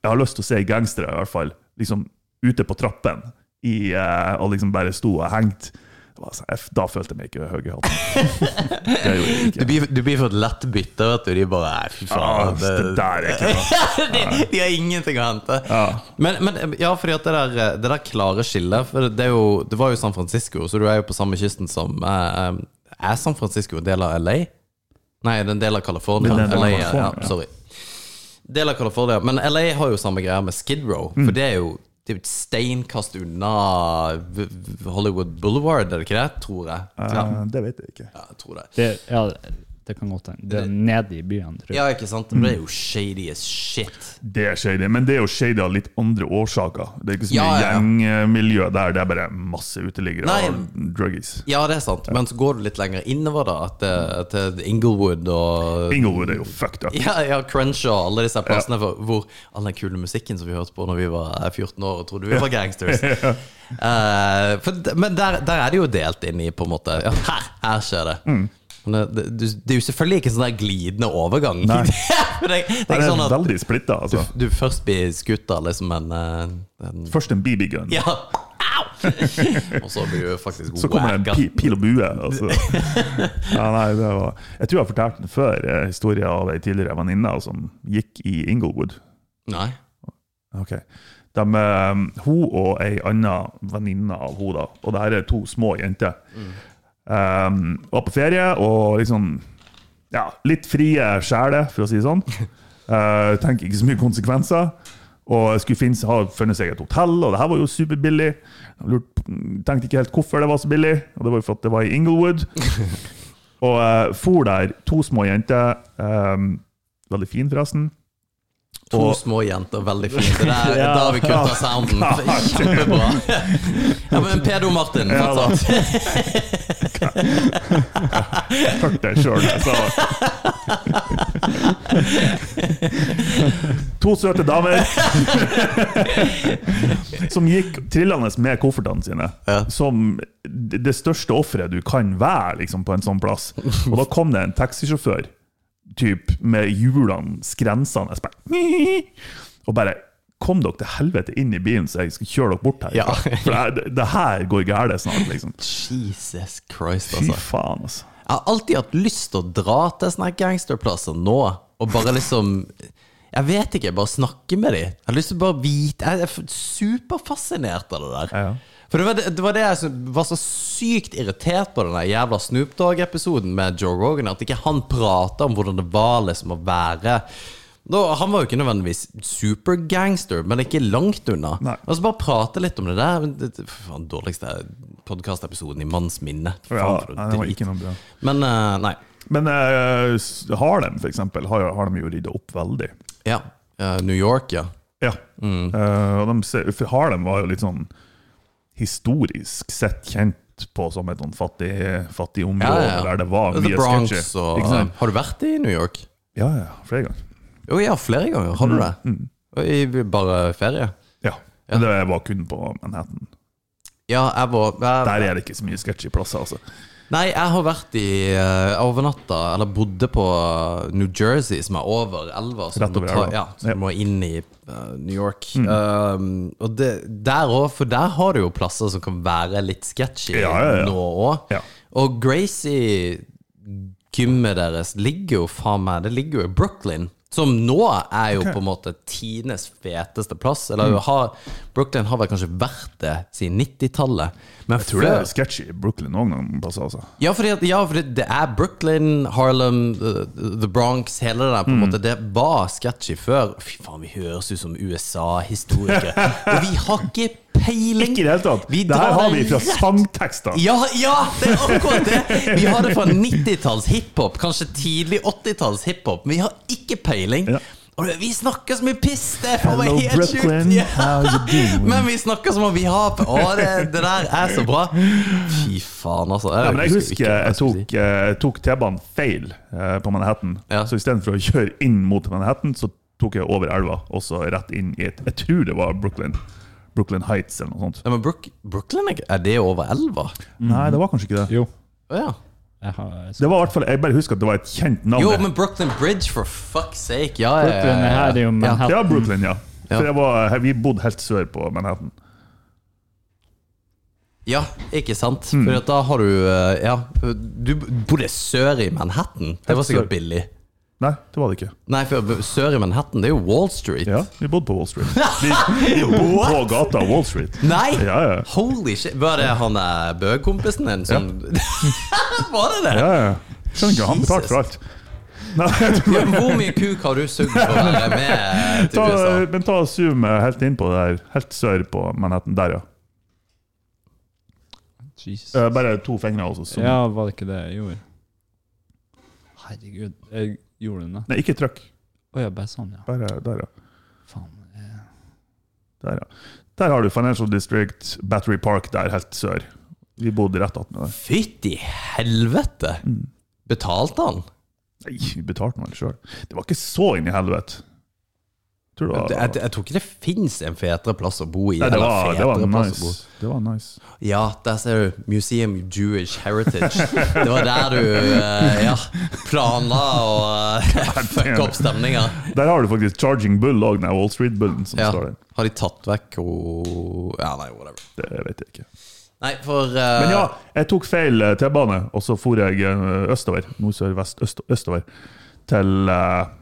B: jeg har lyst til å se gangstere, i hvert fall, liksom ute på trappen i, eh, og liksom bare sto og hengte. Det var så- jeg- Da følte jeg meg ikke høy i hatten. Det gjorde jeg
A: Du
B: ikke.
A: blir, du blir for et lett bytte, vet du. De bare Nei, fy
B: Ah,
A: faen.
B: det der er ikke bra.
A: de, de har ingenting å hente.
B: Ja.
A: Men, men ja, fordi at det der, det der klare skillet For det, er jo, det var jo San Francisco, så du er jo på samme kysten som eh, eh, Er San Francisco en del av LA? Nei, det er en del av California.
B: Det er en del av
A: LA, ja,
B: California,
A: ja,
B: ja. Mm.
A: sorry. Del av California. Men LA har jo samme greia med Skid Row, for det er jo Det er jo et steinkast unna V- V- Hollywood Boulevard, er det ikke det? Tror jeg. Ja,
B: Eh, det vet jeg ikke.
A: ja jeg tror det.
C: Det, ja, det kan godt hende. Det er nede i byen, tror jeg.
A: Ja, ikke sant? Men det er jo shady as shit.
B: Det er shady, men det er jo shady av litt andre årsaker. Det er ikke så mye
A: Ja, ja, ja.
B: gjengmiljø der, det er bare masse uteliggere
A: Nei.
B: og druggies.
A: Ja, det er sant, men så går du litt lenger innover, da, til, til Inglewood og
B: Inglewood er jo fucked up.
A: Ja, ja, Crenshaw, alle disse plassene for, hvor all den kule musikken som vi hørte på når vi var eh, 14 år og trodde vi var gangsters. Eh, for, d- men der, der er det jo delt inn i, på en måte. Ja, her, her skjer det.
B: Mm.
A: Men det, det, du- det er jo selvfølgelig ikke en sånn der glidende overgang.
B: Nei.
A: For det, det er
B: Den
A: ikke
B: er
A: sånn at
B: veldig splitta, altså.
A: du først blir skutt av liksom en, eh, en
B: Først en BB-gun,
A: Ja! Au! og så blir du faktisk
B: så kommer det en
A: wacka.
B: pi, pil og bue. Altså. Ja, nei, det var, jeg tror jeg fortalte den før, eh, historien av ei tidligere venninne som gikk i Inglewood.
A: Nei.
B: Ok. De, eh, hun og ei anna venninne av hun da, og det her er to små jenter, eh, var på ferie og liksom ja, litt frie sjeler, for å si det sånn. Eh, tenker ikke så mye konsekvenser. Og skulle finne, ha funnet seg et hotell, og det her var jo superbillig. Jeg lurte- tenkte ikke helt hvorfor det var så billig, og det var jo for at det var i Inglewood. Og eh, for der, to små jenter, eh, veldig fin forresten.
A: To
B: Og-
A: små jenter, veldig fint. Det der,
C: Ja.
A: Da har vi kutta sounden. Kjempebra. Ja, men Pedo Martin,
B: Ja, da.
A: fortsatt.
B: Hørte det sjøl, jeg sa det. To søte damer som gikk trillende med koffertene sine.
A: Ja.
B: Som det det største offeret du kan være liksom, på en sånn plass. Og da kom det en taxisjåfør typ, med hjulene skrensende bare, og bare Kom dere til helvete inn i bilen, så jeg skal kjøre dere bort her.
A: Ja.
B: For det, her- det her går galt snart, liksom.
A: Jesus Christ,
B: Fy
A: altså.
B: faen, altså.
A: Jeg har alltid hatt lyst til å dra til sånne her gangsterplasser nå, og bare liksom Jeg vet ikke, jeg bare snakke med dem. Jeg har lyst til å bare vite Jeg er superfascinert av det der.
B: Ja.
A: For det var det, det var det jeg som var så sykt irritert på den der jævla Snoop Dogg-episoden med Joe Rogan, at ikke han prata om hvordan det var liksom å være Nå, Han var jo ikke nødvendigvis supergangster, men ikke langt unna.
B: Nei.
A: Og så bare prate litt om det der. men Det, det, faen, dårligste podkastepisoden i manns minne. Faen,
B: Ja,
A: for noe
B: nei, det var
A: drit.
B: ikke noe bra.
A: Men eh, nei.
B: Men eh, s- Harlem, for eksempel, har, har de jo rydda opp veldig.
A: Ja. eh, New York, ja.
B: Ja.
A: Mm.
B: Eh, og de, ser- for Harlem var jo litt sånn historisk sett kjent på som et sånn fattig, fattig område
A: Ja, ja, ja.
B: der det var
A: The
B: mye
A: Bronx
B: sketsjer.
A: og
B: Ikke sant?
A: Har du vært i New York?
B: Ja, ja, flere ganger.
A: Jo, ja, flere ganger. Har
B: Mm,
A: du det? Og I bare ferie?
B: Ja. Men det var kun på Manhattan.
A: Ja, jeg var jeg,
B: Der er det ikke så mye sketsjy plasser, altså.
A: Nei, jeg har vært i eh, Jeg overnatta, eller bodde på eh, New Jersey, som er over elva. Som
B: Rett over
A: du tar-
B: elva.
A: Ja, som
B: Ja. Mm.
A: du må inn i eh, New York. Um, og det, der òg, for der har du jo plasser som kan være litt sketchy
B: Ja, ja, ja.
A: nå òg.
B: Ja.
A: Og Gracie gymmet deres ligger jo faen meg Det ligger jo i Brooklyn. Som nå er jo på en måte tidenes feteste plass. Eller
B: Mm.
A: har, Brooklyn har vel kanskje vært det siden 90-tallet. Men
B: Jeg tror det er sketsjy i Brooklyn òg noen plasser, altså.
A: ja, fordi at, ja, for det, det er Brooklyn, Harlem, the, the Bronx, hele det der. på en
B: Mm.
A: måte Det var sketchy før. Fy faen, vi høres ut som USA-historikere. Og vi har ikke peiling!
B: Ikke i det hele tatt!
A: Vi
B: det her
A: drar
B: har vi
A: det
B: fra
A: rett-
B: sangtekster!
A: ja, ja, det er akkurat det! Vi har det fra 90-talls hiphop, kanskje tidlig 80-talls hiphop, men vi har ikke peiling.
B: Ja.
A: Og det- vi snakker så mye piss! Det er faen meg
B: Hello,
A: helt sjukt!
B: Brooklyn,
A: Ja.
B: how you doing?
A: Men vi snakker som om vi har pe- Å, det, det der er så bra! Fy faen, altså.
B: Ja, men jeg
A: ikke
B: husker
A: hva
B: jeg
A: skulle
B: tok,
A: si.
B: eh, jeg tok T-banen feil eh, på Manhattan.
A: Ja.
B: Så istedenfor å kjøre inn mot Manhattan, så tok jeg over elva og så rett inn i et Jeg tror det var Brooklyn. Brooklyn Heights eller noe sånt.
A: Nei, men Brook, Brooklyn, er ikke- er det over elva?
B: Mm-hmm. Nei, det var kanskje ikke det.
C: Jo.
A: Å ja.
C: Jeg har,
B: Det var i hvert fall, Jeg bare husker at det var et kjent navn.
A: Jo, men Brooklyn Bridge, for fuck's sake. Ja, ja,
C: Brooklyn
A: ja,
C: her
A: ja,
C: er jo
A: ja.
C: Manhattan.
B: ja, Brooklyn, ja.
A: Ja.
B: For jeg var, vi bodde helt sør på Manhattan.
A: ja, ikke sant? For at da har du eh, Ja, du bodde sør i Manhattan. Det var
B: sør.
A: sikkert billig.
B: Nei, det var det ikke.
A: Nei, for sør i Manhattan, det er jo Wall Street.
B: Ja, Vi bodde på Wall Street. Vi, vi bodde på gata Wall Street.
A: Nei!
B: Ja, ja.
A: Holy shit. Var det han eh, Bø-kompisen din som Var det det?
B: Ja, ja. Skjønner ikke, han betalte for alt. Nei, jeg tror-
A: Hvor mye kuk har du sugd for å være med til
B: ta,
A: USA?
B: men ta og zoom eh, helt inn på det der. Helt sør på Manhattan. Der, ja.
C: Jesus.
B: Eh, Bare to fingre, og så zoom.
C: Ja, var det ikke det jeg gjorde? Herregud, jeg gjorde den det?
B: Nei, ikke trykk.
C: Å ja, bare sånn, ja.
B: Bare der, ja.
C: Faen. eh,
B: Der, ja. Der har du Financial District, Battery Park der helt sør. Vi bodde rett attmed der. Mm.
A: Fytti helvete! Betalte han?
B: Nei, vi betalte nå sjøl. Det var ikke så inn i helvete. Tror du
A: Jeg,
B: det
A: jeg,
B: var
A: jeg tror ikke det fins en fetere plass å bo i.
B: Nei, det
A: eller
B: var, det var
A: fetere plass å
B: nice. Det var nice.
A: bo. Ja, der ser du. Museum Jewish Heritage. Det var der du eh, ja, planla å eh, fucke opp stemninga.
B: Der har du faktisk Charging Bull òg, den der Wall Street-bullen som
A: Ja.
B: står der.
A: Har de tatt vekk ho... Ja, nei, whatever.
B: Det vet jeg
A: Eh.
B: ikke.
A: Nei, for
B: Men
A: eh,
B: ja, jeg tok feil eh, T-bane, og så for jeg eh, østover. Nord, sør, vest, øst, østover. Til eh,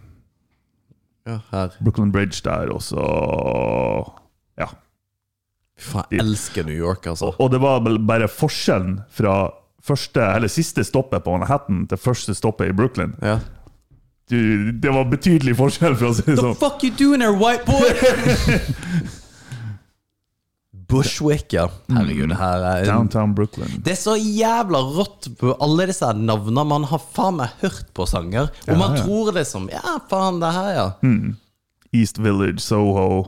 A: ja, her.
B: Brooklyn Bridge der, og så Ja.
A: Fy faen, jeg elsker New York, altså.
B: Og det var vel bare forskjellen fra første, eller siste stoppet på Manhattan til første stoppet i Brooklyn.
A: Ja.
B: Du, det var betydelig forskjell, for å si det
A: The
B: sånn.
A: fuck you doing there, white boy? Bushwick, ja. Herregud, det her er en
B: Downtown Brooklyn.
A: Det er så jævla rått på alle disse her navnene. Man har faen meg hørt på sanger. Og man
B: ja.
A: tror liksom Ja, faen, det her, ja.
B: East Village, Soho.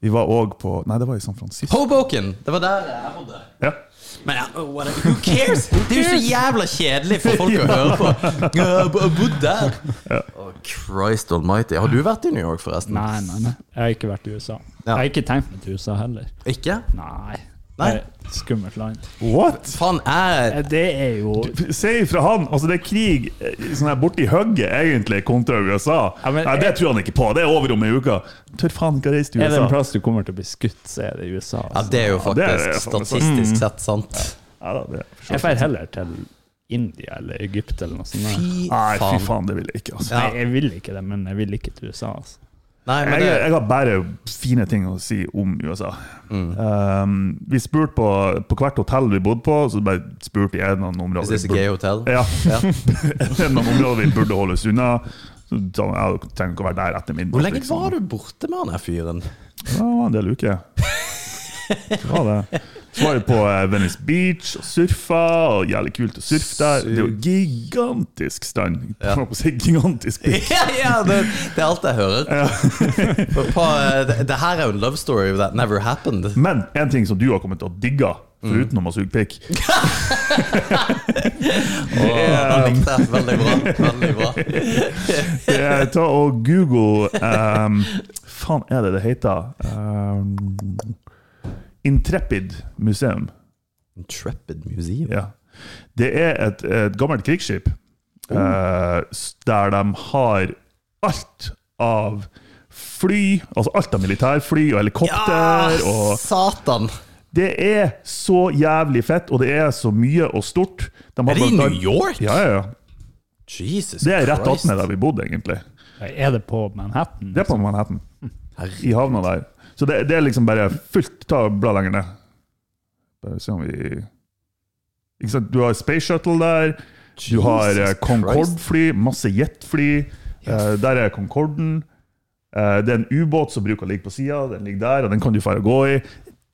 B: Vi var òg på Nei, det var i San Francisco.
A: Hoboken! Det var der jeg bodde.
B: Ja.
A: Men ja, oh, what, who cares? Det er jo så jævla kjedelig for folk å høre på. Jeg bo- bodd der. Å, Christ almighty. Har du vært i New York, forresten?
C: Nei, nei, nei. Jeg har ikke vært i USA. Jeg har ikke tenkt meg til USA heller.
A: Ikke?
C: Nei.
A: Nei.
C: Det er et Skummelt land.
B: What?!
A: Faen, jeg
C: Eh, Det er jo
B: Si ifra han! Altså, det er krig eh, sånn her borti hugget, egentlig, kontra USA.
C: Ja, men-
B: nei, det tror han ikke på. Det er over om ei uke. Tør faen ikke å reise til
C: Er det en
B: USA.
C: plass du kommer til å bli skutt, så er det i USA.
A: Ja,
C: Altså.
A: det er jo
B: Ja, det er det,
A: faktisk
B: faen meg Mm. sant.
A: statistisk sett sant.
B: Ja, da, det er for så
C: Jeg
B: vidt.
C: drar heller til India eller Egypt eller noe sånt. der.
A: Fy
B: Nei, fy
A: faen.
B: faen, det vil jeg ikke. Altså.
A: Ja.
C: Nei, jeg vil ikke det, men jeg vil ikke til USA. Altså.
A: Nei, men
B: Jeg,
A: det
B: jeg har bare fine ting å si om USA.
A: Mm.
B: Um, vi spurte på, på hvert hotell vi bodde på, så bare spurte vi en av noen
A: Is
B: områder.
A: this a gay hotel?
B: Ja.
A: Ja.
B: en av områdene vi burde holde oss unna. Så sa han, jeg trenger ikke å være der etter midnatt.
A: Hvor lenge var du borte med han her fyren?
B: Ja, det var en del uker. Det var det. Så var vi på eh, Venice Beach og surfa, og jævlig kult å surfe der. Det er jo gigantisk strand.
A: Ja.
B: Jeg holdt på å si gigantisk beach.
A: ja, ja, det, det er alt jeg hører. For på, eh, det, det her er jo en love story that never happened.
B: Men en ting som du har kommet til å digge,
A: Mm.
B: foruten om å suge pikk
A: Og han likte det veldig bra. Veldig bra.
B: Det er- Eh, Ta og google um, Faen er det det heter? Um, Intrepid museum.
A: Intrepid Museum.
B: Ja. Det er et, et gammelt krigsskip
A: Oh.
B: eh, s- der de har alt av fly, altså alt av militærfly og helikopter og
A: Ah, satan!
B: Det er så jævlig fett, og det er så mye og stort. De har
A: Er det i
B: blant annet-
A: New York?
B: Ja, ja, ja.
A: Jesus
B: Det er rett
A: Christ.
B: attmed der vi bodde, egentlig.
C: Er det på Manhattan?
B: Det er på Manhattan.
A: Herregud.
B: I havna der. Så det, det er liksom bare fullt Ta og bla lenger ned. Bare se om vi Ikke sant, du har Space Shuttle der. Du har eh,
A: Jesus
B: Concorde-fly, masse jetfly.
A: Ja.
B: Eh, der er Concorden. Eh, det er en ubåt som bruker å ligge på sida. Den ligger der, og den kan du fære og gå i.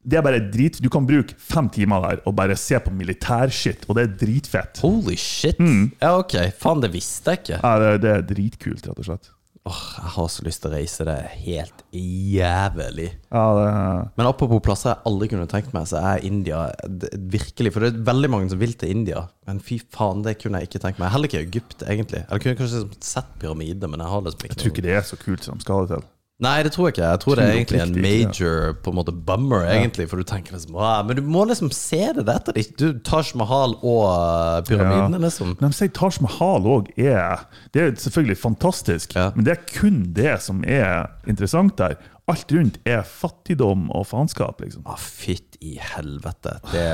B: Det er bare drit. Du kan bruke fem timer der og bare se på militærshit, og det er dritfett.
A: Holy shit.
B: Mm.
A: Ja, ok. Faen, det visste jeg ikke.
B: Ja, det, det er dritkult, rett og slett.
A: Åh, Jeg har så lyst til å reise. Det er helt jævlig.
B: Ja, det er
A: Men apropos plasser jeg aldri kunne tenkt meg, så er India d- virkelig For det er veldig mange som vil til India, men fy faen, det kunne jeg ikke tenkt meg. Heller ikke Egypt, egentlig. Eller kunne jeg kanskje liksom sett pyramidene, men jeg har liksom ikke
B: Jeg tror ikke det er så kult som de skal ha det til.
A: Nei, det tror jeg ikke. Jeg tror det er
B: Tror
A: egentlig en
B: oppriktig ikke
A: major på en måte bummer, egentlig, for du tenker liksom «Åh, Men du må liksom se det etter ditt. Du Taj Mahal og øh, pyramidene, liksom.
B: Men de sier Taj Mahal òg er Det er jo selvfølgelig fantastisk,
A: Ja.
B: men det er kun det som er interessant der. Alt rundt er fattigdom og faenskap, liksom.
A: Ja, Ah, fytt i helvete. Det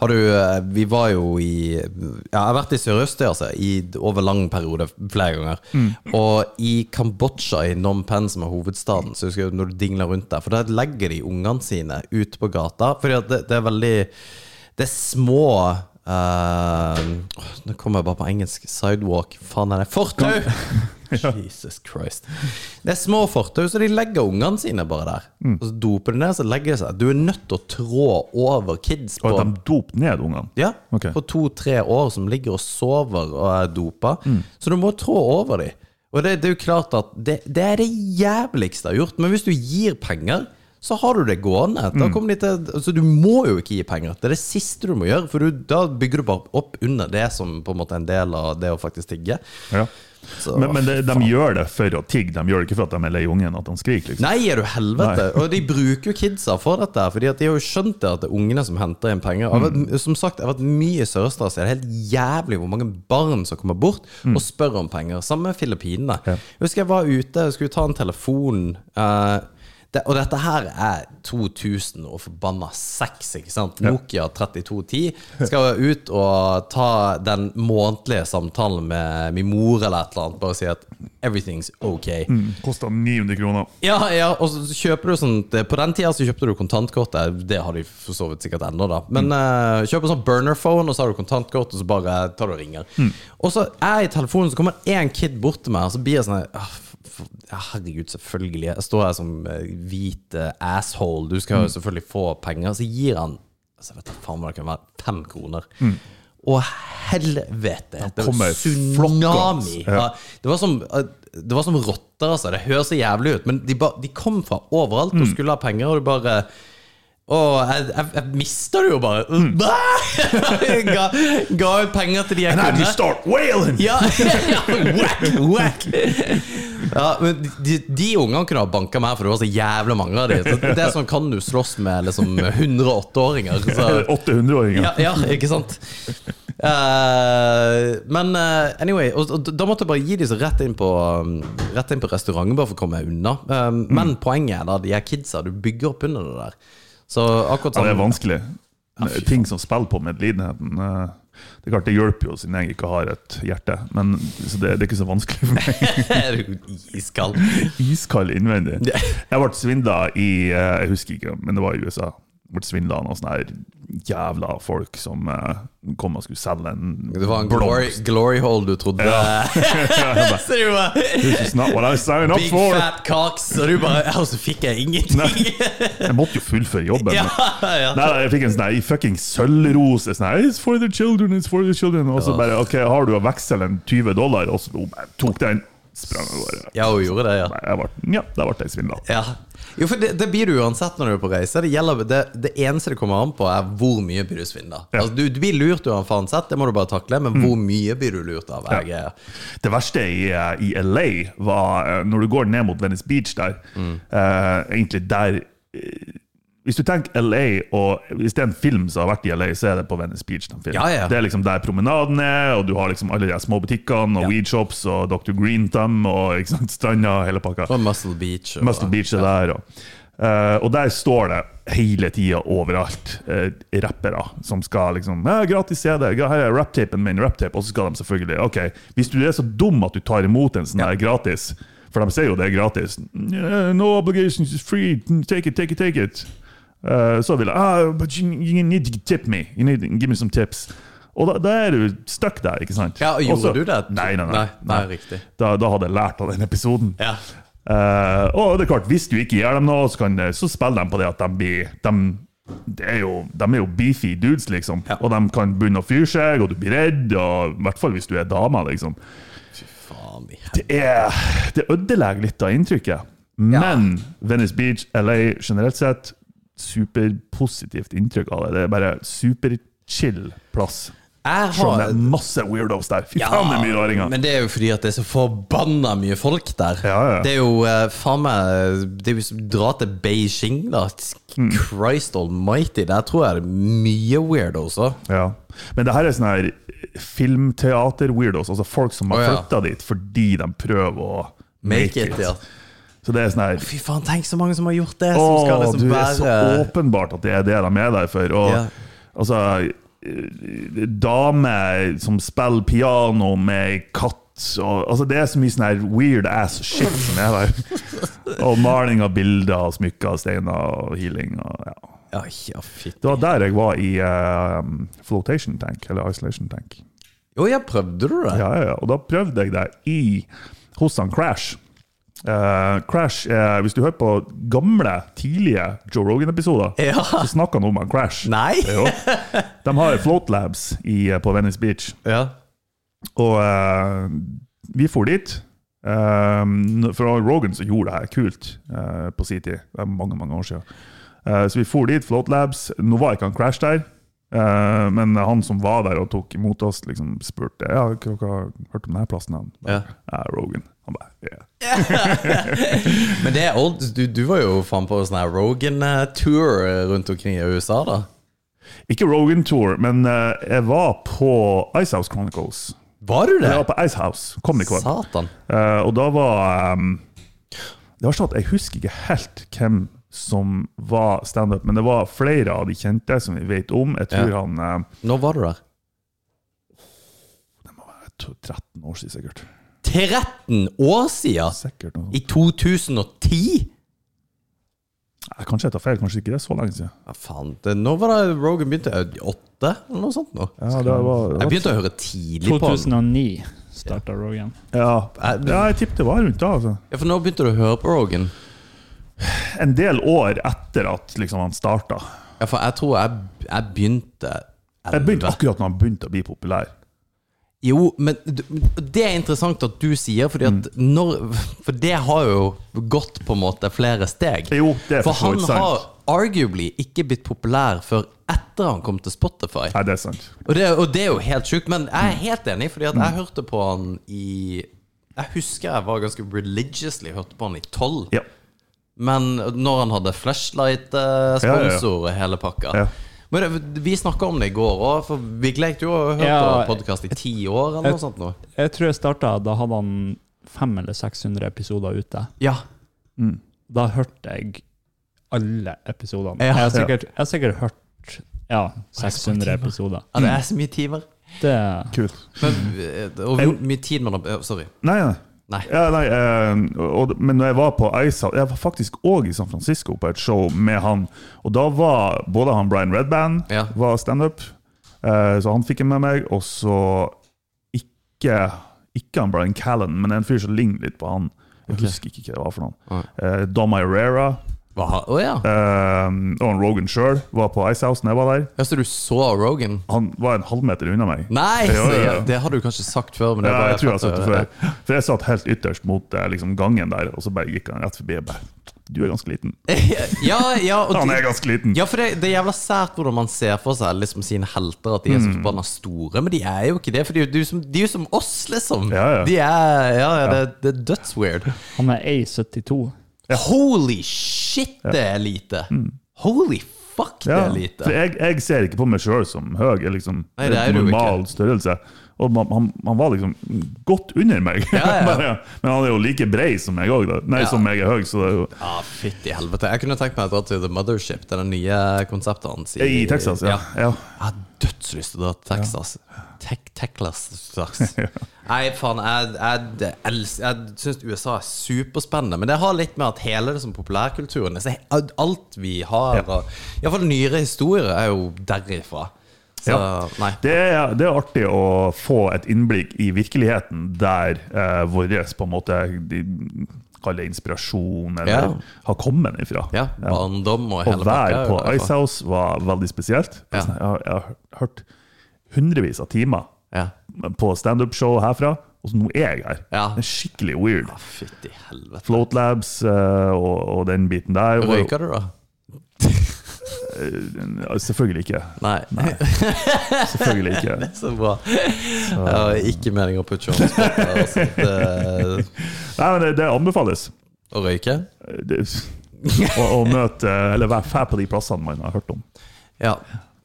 A: har du eh, Vi var jo i Ja, jeg har vært i Sørøst, altså, i, over lang periode flere ganger. Og i Kambodsja, i Phnom Penh, som er hovedstaden, så husker jeg når du dingler rundt der, for der legger de ungene sine ute på gata. Fordi at det, det er veldig Det er små Eh, åh, Nå kommer jeg bare på engelsk. Sidewalk. Faen er det Fortau! Jesus Christ. Det er små fortau, så de legger ungene sine bare der.
B: Mm.
A: Og så doper de ned, så legger de seg. Du er nødt til å trå over kids på
B: Og at de doper ned ungene.
A: ja,
B: Ok.
A: på to-tre år som ligger og sover og er dopa.
B: Mm.
A: Så du må trå over dem. Og det, det er jo klart at det, det er det jævligste jeg har gjort. Men hvis du gir penger, så har du det gående. Da
B: Mm.
A: kommer de til, altså du må jo ikke gi penger. Det er det siste du må gjøre, for du, da bygger du bare opp under det som på en måte er en del av det å faktisk tigge.
B: Ja.
A: Så-
B: Men, men de, de gjør det for å tigge, de gjør det ikke for at de er lei ungen at han skriker. liksom.
A: Nei, er du helvete! Og de bruker jo kidsa for dette, her, Fordi at de har jo skjønt det at det er ungene som henter inn penger. Jeg har vært- Som sagt, jeg har vært mye i Sør-Øst-Asia. Det er helt jævlig hvor mange barn som kommer bort og spør om penger. Sammen med Filippinene. Jeg husker jeg var ute og skulle ta en telefon. eh, det, og dette her er 2000 og forbanna 6, ikke sant? Nokia 3210 skal ut og ta den månedlige samtalen med min mor eller et eller annet. Bare si at 'everything's okay'.
B: Kosta 900 kroner.
A: Ja, ja, og så kjøper du sånt På den tida så kjøpte du kontantkortet. Det har de for så vidt sikkert ennå, da. Men eh, kjøp en sånn burnerphone, og så har du kontantkort, og så bare tar du og ringer. Og så er jeg i telefonen, så kommer én kid bort til meg, og så blir jeg sånn her, «Ah, f- f- ja, Herregud, selvfølgelig. Jeg står her som eh, hvit eh, asshole. Du skal jo selvfølgelig få penger. Så gir han altså, jeg vet da faen hva det kan være, fem kroner. Å, helvete! Det var
B: kommer
A: tsunami! Ja. Det var som, eh, det var som rotter, altså. Det høres så jævlig ut, men de, ba, de kom fra overalt og skulle ha penger, og du bare å, jeg, jeg, jeg mista det jo bare. Bæ! ga, ga ut penger til de jeg
B: Nei, de
A: kunne.
B: start wailing!
A: Ja, ja, whack, whack. Ja, men de, de ungene kunne ha banka meg, for det var så jævla mange av dem. Det er sånn kan du slåss med liksom 108-åringer. så-
B: 800-åringer.
A: ja, ja, ikke sant? Eh, men eh, anyway, og, og da måtte jeg bare gi de så rett inn på um, Rett inn på restauranten bare for å komme meg unna. Eh,
B: Mm.
A: Men poenget er da, de er kidsa, du bygger opp under det der. Så akkurat
B: Ja, det er
A: sånn
B: vanskelig. Ting som spiller på medlidenheten. eh, Det er klart det hjelper jo, siden jeg ikke har et hjerte. Men, så det, det er ikke så vanskelig for meg.
A: er du iskald.
B: Iskald innvendig. Jeg ble svindla i eh, Jeg husker ikke, men det var i USA. Jeg ble svindla av noen sånne her jævla folk som eh, kom og skulle selge en
A: Det var en glory, glory hole du trodde Så du var
B: This is not what I signed up
A: Big
B: for!
A: fat cocks, og du bare Ja, og så fikk jeg ingenting.
B: Jeg måtte jo fullføre jobben.
A: ja, ja.
B: Nei, nei, jeg fikk en sånn her fucking sølvrose. Sånn her, it's for the children, it's for the children. Og så bare OK, har du å veksle en 20 dollar? Og så oh, jeg tok den, sprang av gårde.
A: ja, hun gjorde det, ja.
B: Nei, jeg ble- Ja, da ble jeg svindla.
A: Ja. Jo, for det, det blir du uansett når du er på reise. Det, gjelder, det, det eneste det kommer an på, er hvor mye blir du svindla. Altså, du, du blir lurt uansett, det må du bare takle,
B: Mm.
A: men hvor mye blir du lurt av? Jeg, er-
B: Det verste i, eh, i LA var eh, når du går ned mot Venice Beach der,
A: Mm.
B: eh, egentlig der eh, hvis du tenker LA, og hvis det er en film som har vært i LA, så er det på Venice Beach. den filmen.
A: Ja, ja.
B: Det er liksom der promenaden er, og du har liksom alle de her små butikkene, og
A: Ja.
B: weed shops, og Dr. Green Thumb, og ikke sant, stranda, og hele pakka.
A: Og Muscle Beach. Og,
B: Muscle Beach er der. Og, Eh, og der står det hele tida overalt eh, rappere som skal liksom ja, 'Gratis CD, ja, her er rapptapen min.' Rapptape, og så skal de selvfølgelig Ok, hvis du er så dum at du tar imot en sånn her gratis For de sier jo det er gratis. «Yeah, 'No obligation, it's free. Take it, take it, take it.' Eh, så vil jeg ah, 'But you, you need to tip me. You need to give me some tips.' Og da, da er du stuck der, ikke sant?
A: Ja, og gjorde
B: Også-
A: du det?
B: Nei, nei, nei.
A: Nei, nei, riktig.
B: Da, da hadde jeg lært av den episoden.
A: Ja.
B: Eh, og det er klart, hvis du ikke gjør dem noe, så, kan, eh, så spiller de på det at de blir de, det er jo, de er jo beefy dudes, liksom.
A: Ja.
B: Og de kan begynne å fyre seg, og du blir redd. Og, I hvert fall hvis du er dame. Liksom.
A: Faen i
B: Det, er, det ødelegger litt av inntrykket. Men Venice Beach, LA generelt sett, superpositivt inntrykk av det. Det er bare superchill plass.
A: Jeg
B: Selv om
A: har
B: det er masse weirdos der. Fy faen, det er mye raringer.
A: Men det er jo fordi at det er så forbanna mye folk der.
B: Ja, ja.
A: Det er jo eh, faen meg Det er jo som å dra til Beijing, da.
B: Mm.
A: Christ almighty. Der tror jeg det er mye weird også.
B: Ja. Men det her er sånne her filmteater-weirdos, altså folk som har
A: Å,
B: flyttet
A: ja.
B: flytta dit fordi de prøver å
A: Make it, ja.
B: Så det er sånn her
A: Fy faen, tenk så mange som har gjort det!
B: Å,
A: Som skal liksom
B: du det er
A: være
B: så åpenbart at det er det de er der for. Og
A: Ja.
B: altså eh, Damer som spiller piano med katt og, altså Det er så mye sånn her weird ass shit som er der. og maling av bilder og smykker og steiner og healing og ja.
A: Ai, ja, fitt.
B: Det var der jeg var i eh, flotation tank, eller isolation tank.
A: Jo, jeg prøvde du det?
B: Ja, ja, ja. Og da prøvde jeg det i, hos han Crash. Eh, Crash, eh, Hvis du hører på gamle, tidlige Joe Rogan-episoder,
A: Ja.
B: så snakker han om han Crash.
A: Nei?
B: Jo. De har Float Labs i, eh, på Venice Beach.
A: Ja.
B: Og eh, vi for dit. Eh, for det var Rogan som gjorde det her kult eh, på sin tid. Det er mange, mange år siden. Eh, så vi for dit, Float Labs. Nå var ikke han Crash der. eh, men han som var der og tok imot oss, liksom spurte ja, hva, hva hørte om denne plassen. Han ba,
A: Ja.
B: «Ja, Rogan. Han bare, «Ja».
A: Men det er old. Du, du var jo faen på sånn her Rogan-tour rundt omkring i USA, da.
B: Ikke Rogan Tour, men eh, jeg var på Icehouse Chronicles.
A: Var du det?
B: Jeg var på Icehouse Comic Con.
A: Satan.
B: Eh, og da var ehm, Det var sånn at Jeg husker ikke helt hvem som var standup, men det var flere av de kjente som vi vet om. Jeg tror
A: Ja.
B: han eh,
A: Når var du der?
B: Det må være to- 13 år siden, sikkert.
A: 13 år siden!
B: sikkert noe.
A: I 2010?
B: Nei, Eh, kanskje jeg tar feil, kanskje ikke det er så lenge siden.
A: Ja, faen. Det, når var det Rogan begynte? Eh, Åtte, eller noe sånt? Nå.
B: Ja, det var,
A: Jeg begynte å høre tidlig på han.
C: 2009 starta Rogan.
B: ja. ja jeg tippet det var rundt da. Altså.
A: Ja, for nå begynte du å høre på Rogan.
B: En del år etter at liksom, han starta.
A: Ja, for jeg tror jeg, jeg begynte
B: Jeg begynte
A: elleve.
B: akkurat når han begynte å bli populær.
A: Jo, men d- det er interessant at du sier, fordi at
B: Mm.
A: når, for det har jo gått på en måte flere steg.
B: Jo, det er
A: For
B: for så
A: han
B: vidt
A: har
B: sant.
A: arguably ikke blitt populær før etter han kom til Spotify.
B: Nei, det er sant.
A: Og det, og det er jo helt sjukt, men jeg er helt enig, fordi at jeg hørte på han i Jeg husker jeg var ganske religiously hørte på han i tolv.
B: Ja.
A: Men når han hadde
B: Ja, ja, ja.
A: flashlight-sponsor og hele pakka.
B: Ja.
A: Men det, vi snakka om det i går òg, for vi lekte jo og hørte
C: Ja,
A: på podkast i ti år. eller noe sånt nå.
C: Jeg tror jeg starta da hadde han 500 eller 600 episoder ute.
A: Ja.
B: Mm,
C: Da hørte jeg alle episodene.
A: Ja.
C: Jeg har sikkert, jeg har sikkert hørt ja, 600 episoder.
A: ja,
B: Mm.
A: det er så mye timer.
C: Det,
B: Kult.
A: Men, eh, og hvor mye tid man har eh, Sorry.
B: Nei, nei.
A: Nei.
B: Ja, nei eh, og, men når jeg var på Icehouse Jeg var faktisk òg i San Francisco på et show med han. Og da var både han Brian Redband
A: Ja.
B: var standup, eh, så han fikk en med meg. Og så ikke, ikke han Brian Callan, men en fyr som ligner litt på han. Jeg husker ikke hva det var for noen. Eh, Dom Irera
A: Hva har- Å ja.
B: eh, og han Rogan sjøl var på Icehouse når jeg var der.
A: Hørte du så Rogan?
B: Han var en halvmeter unna meg.
A: Nei!
B: Ja, ja, ja.
A: så- Det har du kanskje sagt før. Men det
B: Ja,
A: var
B: jeg tror jeg har
A: fant
B: sett det
A: å høre.
B: før. For jeg satt helt ytterst mot eh, liksom, gangen der, og så bare gikk han rett forbi og bare Du er ganske liten.
A: ja, ja, og
B: Han
A: det-
B: er ganske liten!
A: Ja, for det, det er jævla sært hvordan man ser for seg liksom sine helter, at de er så
B: Mm.
A: forbanna store. Men de er jo ikke det, for de, er jo- de, er jo som- de er jo som oss, liksom.
B: Ja, ja.
A: De er, ja, ja, Det, det er dødsweird.
C: han er A72.
A: Holy shit, det er lite! Holy fuck, det
B: Mm. Ja,
A: er
B: For
A: lite.
B: jeg, jeg ser ikke på meg sjøl som høy. Jeg er liksom
A: Nei, det er du
B: normal størrelse. Og man, han, han var liksom godt under meg.
A: ja, ja.
B: Bare, Men han er jo like brei som jeg òg, da. Nei,
A: Ja.
B: som jeg er høy, så det er jo
A: Ja, fytti helvete. Jeg kunne tenkt meg å dra til The Mothership, det er det nye konseptet hans.
B: I Texas, ja. ja.
A: Jeg har dødslyst til å dra til Texas. Tek Teklas slags. Nei, faen, jeg, jeg, els- jeg syns USA er superspennende. Men det har litt med at hele det som populærkulturen er så he- Alt vi har,
B: Ja.
A: og iallfall nyere historier, er jo derifra. Så
B: Ja.
A: nei.
B: Det er, det er artig å få et innblikk i virkeligheten der eh, vår på en måte de kaller det inspirasjon, eller
A: Ja.
B: har kommet ifra.
A: Ja, barndom og
B: Å
A: hele
B: være
A: pakka er jo
B: på
A: derifra.
B: Icehouse var veldig spesielt. Altså,
A: Ja.
B: Jeg, har, jeg har hørt hundrevis av timer
A: Ja.
B: på standup-show herfra, og så nå er jeg her.
A: Ja.
B: Det er skikkelig weird.
A: Ah, Fytti helvete.
B: Float Labs eh, og, og den biten der. var jo-
A: Røyka du, da?
B: Ja, eh, Selvfølgelig ikke.
A: Nei.
B: Selvfølgelig ikke.
A: Så bra. Jeg har ikke meningen å putte on the spot der, altså. Det-
B: Nei, men det, det anbefales.
A: Å røyke?
B: det, å, å møte Eller være fæl på de plassene man har hørt om.
A: Ja,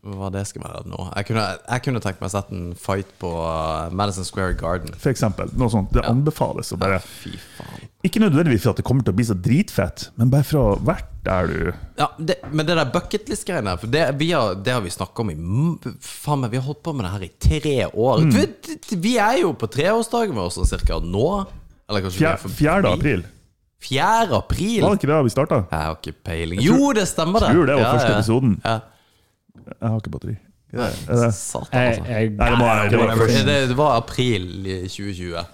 A: hva det skal være nå. Jeg kunne, jeg kunne tenkt meg å sette en fight på uh, Madison Square Garden.
B: For eksempel, noe sånt. Det anbefales å bare
A: Fy faen.
B: Ikke nødvendigvis for at det kommer til å bli så dritfett, men bare fra hvert der du
A: Ja, det, men det der bucketlist-greiene her, for det, vi har, det har vi snakka om i m- Faen meg, vi har holdt på med det her i tre år.
B: Mm.
A: Vi, vi er jo på treårsdagen vår sånn cirka nå. Eller kanskje vi
B: Fjer-
A: er forbi.
B: 4. april.
A: 4. april?
B: Var det ikke det vi starta?
A: Jeg har ikke peiling.
B: tror-
A: Jo, det stemmer, det!
B: Tror det var første episoden.
A: Ja.
B: Jeg har ikke batteri. Er det?
A: Satan,
C: Jeg,
A: altså.
C: jeg,
B: Nei, det må være det var
A: Det,
B: først.
A: det var april i 2020.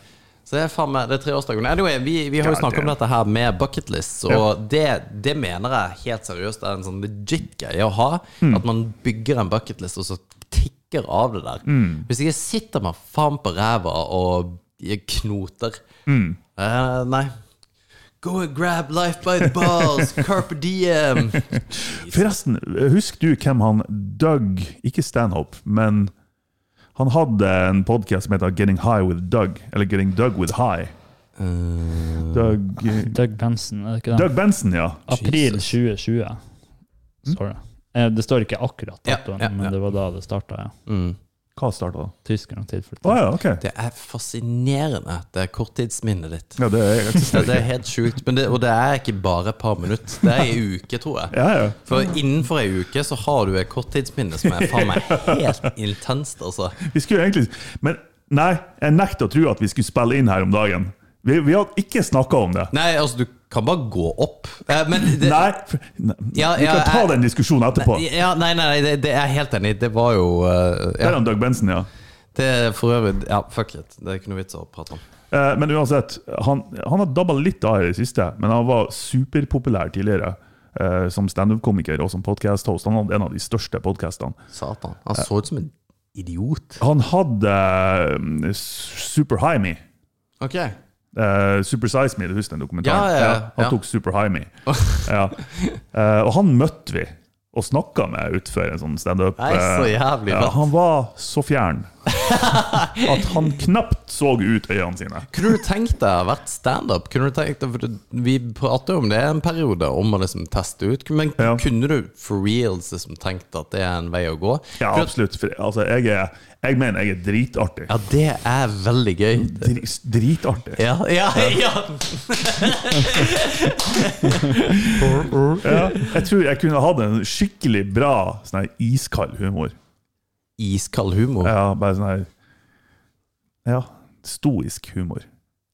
A: Så det er faen meg, det er treårsdagen. Anyway, vi, vi har jo
B: Ja,
A: snakket om
B: det-
A: dette her med bucketlists, og det, det mener jeg helt seriøst er en sånn legit greie å ha.
B: Mm.
A: At man bygger en bucketlist, og så tikker av det der.
B: Mm.
A: Hvis ikke sitter man faen på ræva og knoter.
B: Mm.
A: Eh, nei. Go and grab life by the balls, carpe diem.
B: Forresten, husker du hvem han Doug Ikke Stanhope, men han hadde en podkast som heter Getting High with Doug. Eller Getting Doug with High.
A: Eh.
B: Doug,
C: Doug Benson, er det ikke det?
B: Doug Benson, ja.
C: April
A: Jesus. Mm.
C: 2020 står det. Eh, Det står ikke akkurat
A: Ja,
C: datoen,
A: ja, ja.
C: men det var da det starta. Ja.
A: Mm.
B: Hva starta da?
C: Tyskerne tilflyttet.
B: Å ja, ok.
A: Det er fascinerende, det er korttidsminnet ditt.
B: Ja, det
A: Ja,
B: eksisterer
A: det er
B: ikke.
A: helt sjukt, men det, og det er ikke bare et par minutter. Det er ei uke, tror jeg.
B: Ja, ja.
A: For innenfor ei uke så har du et korttidsminne som er faen meg helt intenst, altså.
B: Vi skulle jo egentlig Men nei, jeg nekter å tro at vi skulle spille inn her om dagen. Vi, vi hadde ikke snakka om det.
A: Nei, altså, du kan bare gå opp. Eh, Men det,
B: Nei, f- ne-
A: Ja,
B: vi
A: ja,
B: kan ta
A: jeg-
B: den diskusjonen etterpå. Det
A: ja, nei, nei, nei, det, det er jeg helt enig i. Det var jo eh, ja,
B: er han Doug Benson, ja.
A: Det er for øvrig Ja, fuck it. Det er ikke noe vits å prate om.
B: Eh, Men uansett, han, han har dabba litt av i det siste, men han var superpopulær tidligere. eh, Som standup-komiker og som podcast-host. Han hadde en av de største podkastene.
A: Satan. Han så ut som en idiot.
B: Han hadde eh, Super High Me.
A: Ok.
B: Eh, Super Size Me, du husker den dokumentaren?
A: Ja, ja, ja. Ja.
B: han
A: Oh.
B: tok Super High Me. ja. Eh, og han møtte vi og snakka med utfor en sånn standup.
A: Nei, så
B: eh,
A: jævlig
B: ja,
A: fett.
B: han var så fjern at han knapt så ut øynene sine.
A: Kunne du tenkt deg å ha vært standup? Kunne du tenkt deg- for det- Vi prater jo om det en periode, om å liksom teste ut. Men
B: Ja.
A: kunne du for reals liksom tenkt at det er en vei å gå?
B: Ja,
A: For-
B: absolutt. For, altså, jeg, er, jeg mener jeg er dritartig.
A: ja det er veldig gøy.
B: Dri, dritartig.
A: Ja, ja, ja.
B: Ja, jeg tror jeg kunne hatt en skikkelig bra sånn her iskald humor.
A: Iskald humor.
B: Ja, bare sånn her Ja, stoisk humor.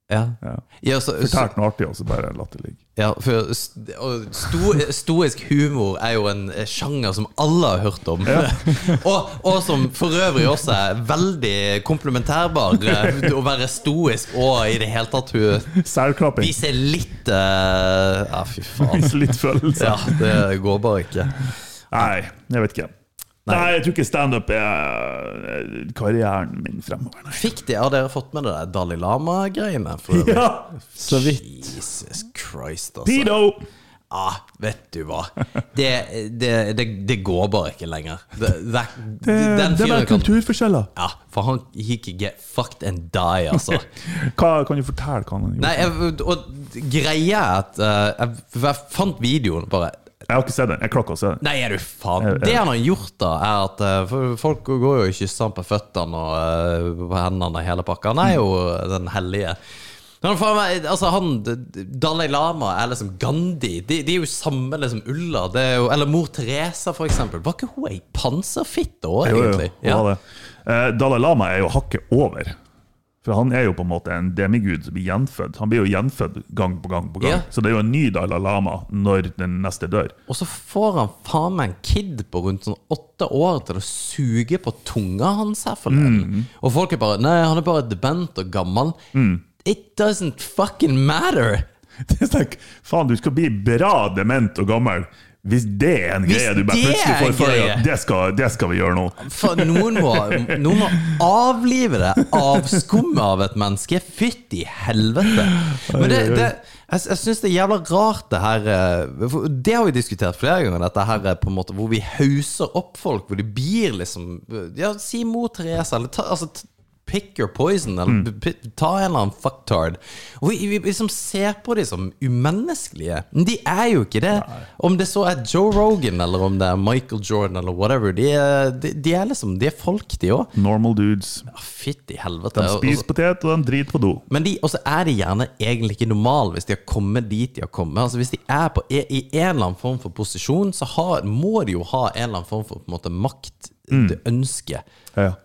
A: Ja.
B: Ja.
A: Ja, så, så,
B: Fortært noe artig, og så bare latt det ligge.
A: ja, for st- og sto, stoisk humor er jo en eh, sjanger som alle har hørt om. og, og som for øvrig også er veldig komplementærbar. eh, Å være stoisk og i det hele tatt hun
B: Særklapping.
A: Vise litt eh, Ja, fy faen.
B: Vise litt følelse.
A: Ja, det går bare ikke.
B: Nei, jeg vet ikke. Nei, jeg tror ikke standup er karrieren min fremover, nei.
A: Fikk de, Har dere fått med dere Dalai Lama-greiene? for øvrig?
B: Ja!
C: Så vidt.
A: Jesus Christ, altså.
B: Pido!
A: Ja, vet du hva. Det, det, det, det går bare ikke lenger. Det, det, den
B: Det, det Eh, er
A: fyren
B: bare
A: kan
B: kulturforskjeller.
A: Ja, for han he can get fucked and die, altså.
B: Hva kan du fortelle hva han gjorde?
A: Nei, jeg, og greia er at eh, jeg, jeg fant videoen bare
B: Jeg har ikke sett den. Jeg klarer ikke å se den.
A: Nei, er du faen.
B: Jeg- jeg-
A: Det han har gjort, da, er at eh, for folk går jo og kysser han på føttene og eh, på hendene og hele pakka. Han er jo den hellige. Men han, faen meg, altså han, Dalai Lama er liksom Gandhi. De, de er jo samme liksom ulla. Det er jo, eller mor Teresa, for eksempel. Var ikke hun ei panserfitte òg,
B: Jo, jo,
A: egentlig?
B: det var det. Eh, Dalai Lama er jo hakket over. For han er jo på en måte en demigud som blir gjenfødt. Han blir jo gjenfødt gang på gang på gang.
A: Ja.
B: Så det er jo en ny Dalai Lama når den neste dør.
A: Og så får han faen meg en kid på rundt sånn åtte år til å suge på tunga hans her forleden. Og folk er bare Nei, han er bare dement og gammel. It doesn't fucking matter!
B: Det er sånn, Faen, du skal bli bra dement og gammel hvis det er en
A: Hvis
B: greie du bare
A: det
B: plutselig
A: er
B: får
A: en
B: for deg.
A: greie.
B: at Det skal, det skal vi gjøre nå.
A: For noen må, noen må avlive det av skummet av et menneske. Fytti helvete! Men det, det, jeg, jeg syns det er jævla rart, det her eh, for Det har vi diskutert flere ganger, dette her eh, på en måte hvor vi hauser opp folk, hvor de blir liksom Ja, si mor Therese, eller ta, altså, t- Pick your poison, eller
B: Mm.
A: p- p- ta en eller annen fucktard. Og vi, vi liksom ser på de som umenneskelige. Men de er jo ikke det. Om det så er Joe Rogan, eller om det er Michael Jordan, eller whatever. De er, de, de er liksom De er folk, de òg.
B: Normal dudes.
A: Fytti helvete.
B: De
A: Og- og så-
B: spiser potet, og de driter på do.
A: men de, og så er de gjerne egentlig ikke normale hvis de har kommet dit de har kommet. Altså Hvis de er på, i i en eller annen form for posisjon, så har, må de jo ha en eller annen form for på en måte, makt,
B: Mm.
A: det ønsket.
B: Ja.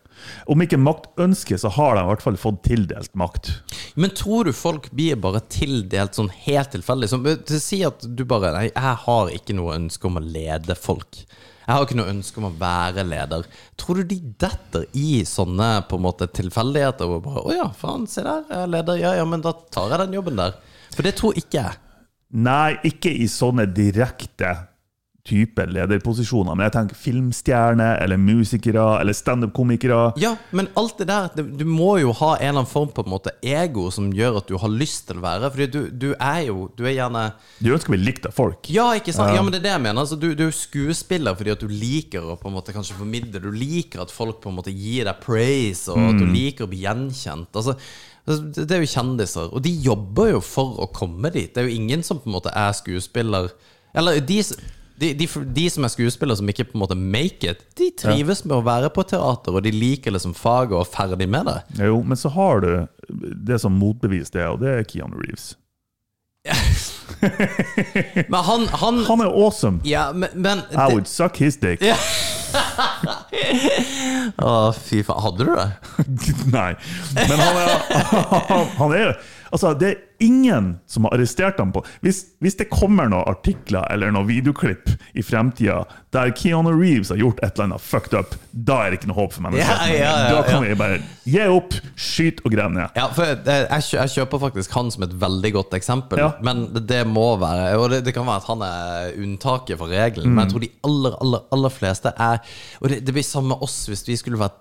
B: Om ikke makt ønsker, så har de i hvert fall fått tildelt makt.
A: Men tror du folk blir bare tildelt sånn helt tilfeldig? Som, til å si at du bare Nei, jeg har ikke noe ønske om å lede folk. Jeg har ikke noe ønske om å være leder. Tror du de detter i sånne på en måte tilfeldigheter? Og bare Å ja, faen, se der, jeg er leder. Ja ja, men da tar jeg den jobben der. For det tror ikke jeg.
B: Nei, ikke i sånne direkte type lederposisjoner, men jeg tenker filmstjerner eller musikere eller standup-komikere.
A: Ja, men alt det der det- Du må jo ha en eller annen form på en måte ego som gjør at du har lyst til å være. Fordi du, du er jo Du er gjerne
B: Du ønsker vel likt av folk?
A: Ja, ikke sant? Ja, men det er det jeg mener. Altså, du, du er jo skuespiller fordi at du liker å på en måte kanskje formidle. Du liker at folk på en måte gir deg praise, og at du liker å bli gjenkjent. Altså, altså, det det er jo kjendiser, og de jobber jo for å komme dit. Det er jo ingen som på en måte er skuespiller Eller de, s- de, de, f- de som er skuespiller som ikke på en måte make it, de trives med å være på teater, og de liker liksom faget og er ferdig med det.
B: Jo, men så har du det som motbeviser det, og det er Keanu Reeves.
A: Men han, han
B: Han er jo awesome!
A: Ja, men, men
B: I
A: det,
B: would suck his dick.
A: Å, fy faen. Hadde du det?
B: Nei. Men han er, han er jo Altså, det er ingen som har arrestert ham på Hvis, hvis det kommer noen artikler eller noen videoklipp i fremtida der Keanu Reeves har gjort et eller annet fucked up, da er det ikke noe håp for
A: Ja,
B: menneskeheten.
A: ja, ja,
B: da kan
A: ja.
B: vi bare gi opp, skyte og grave ned.
A: Ja, for jeg, jeg, kjø- jeg kjøper faktisk han som et veldig godt eksempel.
B: Ja.
A: Men det, det må være Og det, det kan være at han er unntaket fra regelen,
B: Mm.
A: men jeg tror de aller, aller, aller fleste er Og det, det blir samme med oss hvis vi skulle vært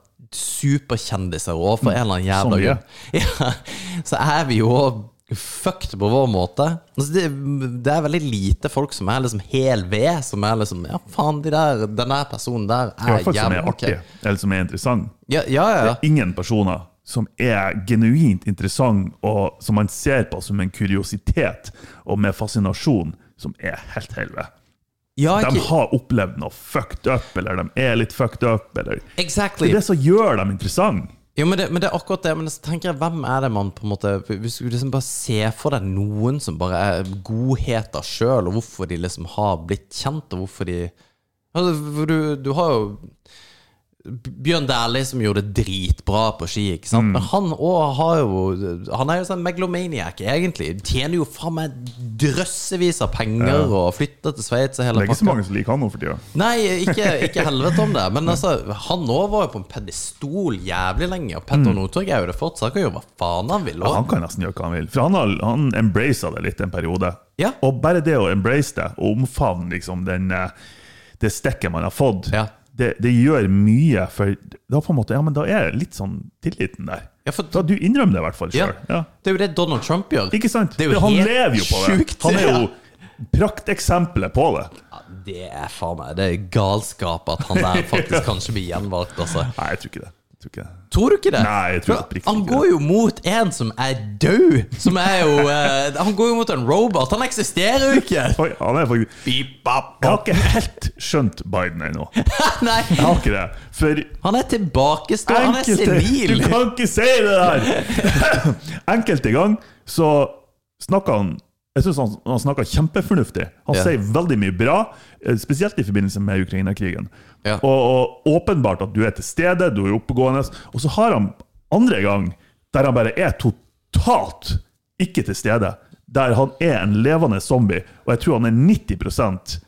A: superkjendiser òg, for en eller annen
B: Mm. Som
A: jævla
B: vi er.
A: grunn. Ja, så er vi jo fucked på vår måte. Altså det, det er veldig lite folk som er liksom hel ved, som er liksom Ja, faen, de der, den der personen der
B: I
A: er
B: hvert fall som er
A: jævla ok.
B: artig, eller som er interessant.
A: Ja, ja, ja.
B: Ingen personer som er genuint interessant, og som man ser på som en kuriositet og med fascinasjon, som er helt helvete.
A: ja
B: De
A: ikke,
B: har opplevd noe fucked up, eller de er litt fucked up, eller Det
A: exactly.
B: er det som gjør dem interessante.
A: Jo, men det, men det er akkurat det. Men så tenker jeg, hvem er det man på en måte Hvis du liksom bare ser for deg noen som bare er godheter sjøl, og hvorfor de liksom har blitt kjent, og hvorfor de altså, for du, du har jo Bjørn Dæhlie som gjorde det dritbra på ski, ikke sant.
B: Mm.
A: Men han òg har jo Han er jo sånn megalomaniac, egentlig. Tjener jo faen meg drøssevis av penger og flytter til Sveits og
B: Det
A: hele
B: er ikke så mange som liker han nå for tida.
A: Nei, ikke, ikke helvete om det. Men altså, han nå var jo på en pedestol jævlig lenge. Og Petter Northug er jo det fortsatt. Han kan gjøre hva faen han vil.
B: Mm. Ja,
A: Og,
B: han kan nesten gjøre hva han vil, for han, har- han embracet det litt en periode.
A: Ja.
B: Og bare det å embrace det, og omfavne liksom den, eh, det stikket man har fått,
A: Ja.
B: det, det gjør mye, for da, på en måte, ja, men da er litt sånn tilliten der.
A: ja, for,
B: Da, du innrømmer det i hvert fall
A: ja,
B: sjøl. Ja.
A: det er jo det Donald Trump gjør.
B: Ikke sant?
A: Det er jo
B: han
A: helt
B: lever jo på det.
A: sjukt,
B: Han er jo
A: ja.
B: prakteksempelet på det.
A: Ja, det er faen meg Det er galskap at han der faktisk kanskje blir gjenvalgt, altså.
B: Nei, jeg tror ikke det. Jeg tror ikke det.
A: Tror du ikke det?
B: Nei, jeg tror
A: For
B: oppriktig
A: Han
B: ikke
A: går jo mot en som er død! Som er jo eh, Han går jo mot en robot! Han eksisterer jo ikke!
B: Oi, han er faktisk Jeg har ikke helt skjønt Biden ennå. Jeg
A: Nei,
B: har ikke det. For
A: han er tilbakestående. Han er
B: enkelte Du
A: senil!
B: kan ikke si det der! Enkelte gang så snakker han jeg synes han, han snakker kjempefornuftig. Han
A: Ja.
B: sier veldig mye bra, eh, spesielt i forbindelse med Ukraina-krigen.
A: Ja.
B: Og, og åpenbart at du er til stede, du er oppegående. Og så har han andre gang der han bare er totalt ikke til stede. Der han er en levende zombie, og jeg tror han er 90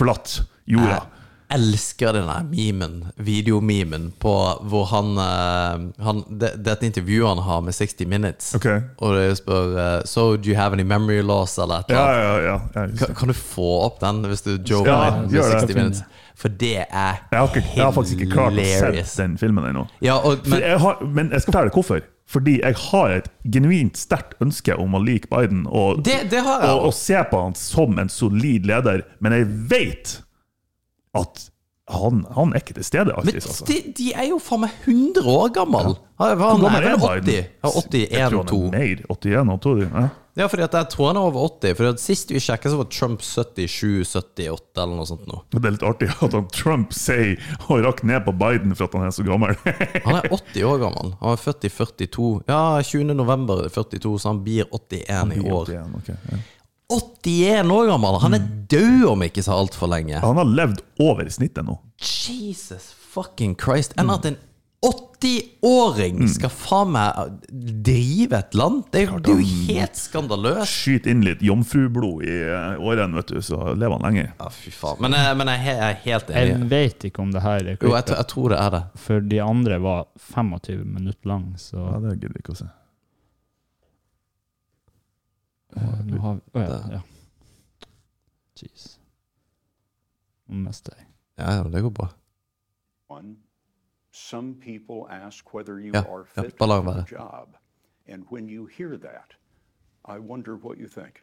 B: forlatt jorda.
A: Jeg elsker den der memen, videomemen, på hvor han, eh, han det, det er et intervju han har med 60 Minutes.
B: Ok.
A: Og det spør eh, So do you have any memory loss, eller et eller
B: Ja,
A: annet.
B: ja, ja. Jeg husker.
A: Kan, kan du få opp den, hvis du Joe
B: Ja,
A: Biden med
B: gjør det.
A: 60 Minutes? For det er
B: Jeg har, ikke, jeg har faktisk ikke klart å
A: hilarious.
B: se den filmen ennå.
A: Ja, og,
B: For
A: men,
B: jeg har- Men jeg skal fortelle hvorfor. Fordi jeg har et genuint sterkt ønske om å like Biden og,
A: det, det har jeg.
B: og, og se på han som en solid leder, men jeg vet at han, han er ikke til stede
A: Men
B: alltid. Altså.
A: de, de er jo faen meg 100 år gammel Han er- Han er vel 80? Ja, 81
B: Jeg tror
A: 2.
B: han er mer. 81 og 2. Ja.
A: Ja, fordi at jeg tror han er over 80. For at Sist vi sjekket så var Trump 77, 78 eller noe sånt. nå
B: Det er litt artig at han Trump sier og rakk ned på Biden for at han er så gammel.
A: Han er 80 år gammel. Han er født i 42. Ja, 20. november 42, så han blir 81 i år.
B: 81, ok, ja.
A: 81 år gammel! Han er død om ikke så altfor lenge.
B: Han har levd over snittet nå.
A: Mm. Jesus fucking Christ! Enn at en 80-åring skal faen meg eh, drive et land? Det er jo, det er jo helt skandaløst.
B: Skyt inn litt jomfrublod i eh, årene, vet du, så lever han lenger.
A: Ja, fy faen. Men, jeg- men jeg, er he- jeg er helt
C: Jeg
A: enig.
C: vet ikke om det her er
A: Jo, jeg,
C: klippet,
A: tr- jeg tror det er det.
C: for de andre var 25 minutter lang,
B: Ja,
C: så
B: det gidder vi ikke å se.
C: eh, nå har vi Å ja. ja. Jeez. Nå mister jeg.
A: Ja, ja, det går bra.
D: One, some people ask whether you
A: Yeah,
D: are
A: yeah,
D: fit
A: but like
D: for the
A: that.
D: job. And when you hear that, I wonder what you think.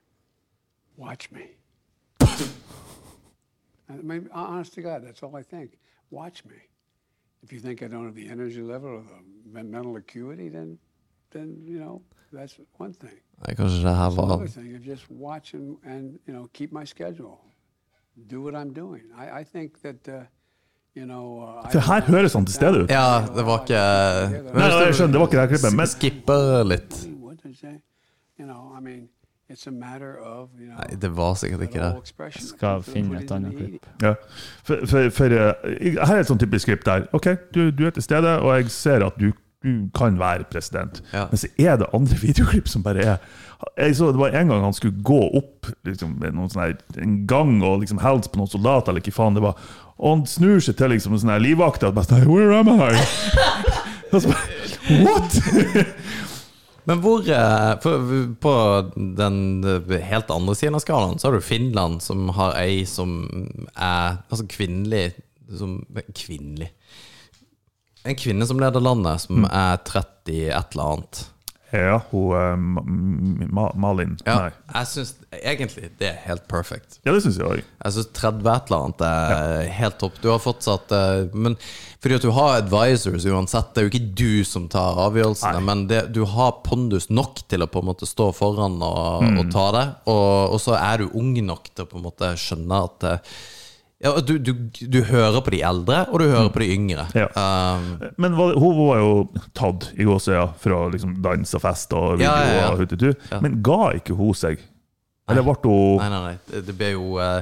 E: Watch me. I mean, hon- honest to God, that's all I think. Watch me. If you think I don't have the energy level or the men- mental acuity, then, then you know that's one thing.
A: Nei, Kanskje det her var
E: Another thing is just watch and, and you know keep my schedule, do what I'm doing. I, I think that uh, you know. Uh, I
B: Det her
E: don't-
B: høres han til stede ut.
A: Ja, det var ikke eh,
B: Nei, nei, jeg skjønner, det var ikke det her klippet, men
A: Skipper litt.
E: What did I say? You know, I mean, it's a matter of you know.
A: Nei, det var sikkert ikke det.
E: all expression.
C: Skal
E: Put it
C: finne
E: in
C: et
E: the
C: annet
E: eating.
C: klipp.
B: ja. for, for, for, eh, Her er et sånn typisk skript der. OK, du, du er til stede, og jeg ser at du, du kan være president.
A: Ja.
B: Men så er det andre videoklipp som bare er Jeg så Det var en gang han skulle gå opp liksom, med noen sånne her, en gang og liksom hilse på noen soldater, eller hva faen det var. Og han snur seg til liksom, en sånn her livvakt og bare sånn, Where am I? Og så bare, What?!
A: Men hvor eh, for- På den eh, helt andre siden av skalaen så har du Finland, som har ei som er Altså kvinnelig som, eh, Kvinnelig En kvinne som leder landet,
B: Mm.
A: som er 30 et eller annet.
B: Ja, hun eh, Ma- Ma, Malin.
A: Ja,
B: Nei.
A: jeg syns egentlig det er helt perfect.
B: Ja, det syns jeg òg.
A: Jeg syns 30 et eller annet er helt topp. Du har fortsatt eh, Men fordi at du har advisors uansett, det er jo ikke du som tar avgjørelsene, men det, du har pondus nok til å på en måte stå foran og,
B: Mm.
A: og ta det, og, og så er du ung nok til å på en måte skjønne at eh, ja, du, du, du hører på de eldre, og du hører på de yngre.
B: Mm. Ja.
A: Um,
B: Men var, hun var jo tatt i gåsøya fra liksom dans og fest og video
A: Ja, ja, ja.
B: og huttetu. Men ga ikke hun seg? Eller ble
A: nei,
B: hun
A: nei, nei. Det, det ble jo eh,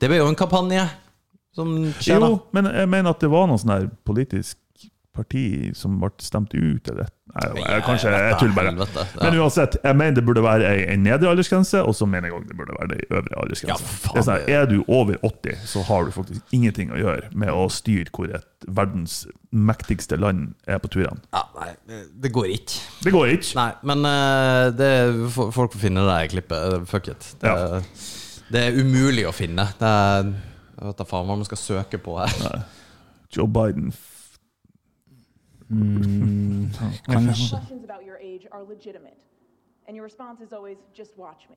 A: Det ble jo en kampanje som skjer, da.
B: Jo, men jeg mener at det var noe sånn her politisk parti som ble stemt ut, eller Nei, jeg,
A: Ja,
B: kanskje
A: jeg vet
B: jeg
A: da,
B: tuller bare.
A: helvete, ja.
B: Men uansett, jeg mener det burde være ei, ei nedre aldersgrense, og så mener jeg òg det burde være ei øvre aldersgrense.
A: Ja, for faen.
B: det er, sånn, her, er du over 80, så har du faktisk ingenting å gjøre med å styre hvor et verdens mektigste land er på turene.
A: Ja, nei, det- det går ikke.
B: Det går ikke.
A: Nei, men eh, det, fo- folk får finne det her klippet. Eh, Fuck it. Det,
B: Ja.
A: det er umulig å finne. Det er, jeg vet da faen hva man skal søke på her.
B: Joe Biden f-
C: Mm, kanskje
F: Questions about your age are legitimate, and your response is always just watch me.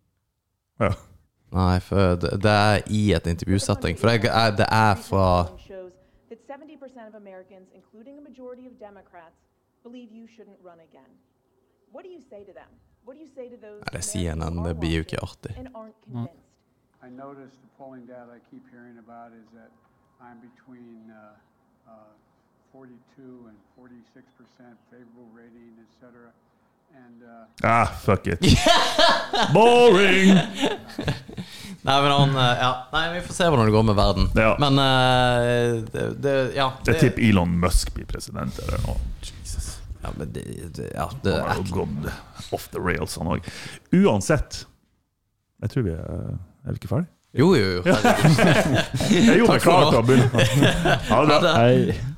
B: ja.
A: Nei, for det, det er i et intervjusetting. For det er, det er fra
F: polling shows that 70% of Americans, including a majority of Democrats, believe you shouldn't run again. What do you say to them? What do you say to those
A: det er
F: Americans
A: CNN,
F: who are
A: det blir jo ikke
F: watching
A: artig.
F: and aren't convinced?
E: I noticed the polling data I keep hearing about is that I'm between uh, uh, 42 and 46 percent favorable rating, et cetera. And uh,
B: Ah, fuck it. Boring!
A: Nei, men han eh, ja. Nei, vi får se hvordan det går med verden.
B: Ja.
A: Men eh, det, det Ja.
B: Jeg
A: Det,
B: tipper Elon Musk blir president eller noe. Jesus.
A: ja, men det, det, ja, det
B: Han
A: er
B: har jo gått off the rails, han òg. Uansett Jeg tror vi er Er vi ikke ferdig?
A: Jo, jo, jo.
B: Jeg
A: Takk for
B: gjorde meg klar til å begynne. Ha det bra.
C: Jeg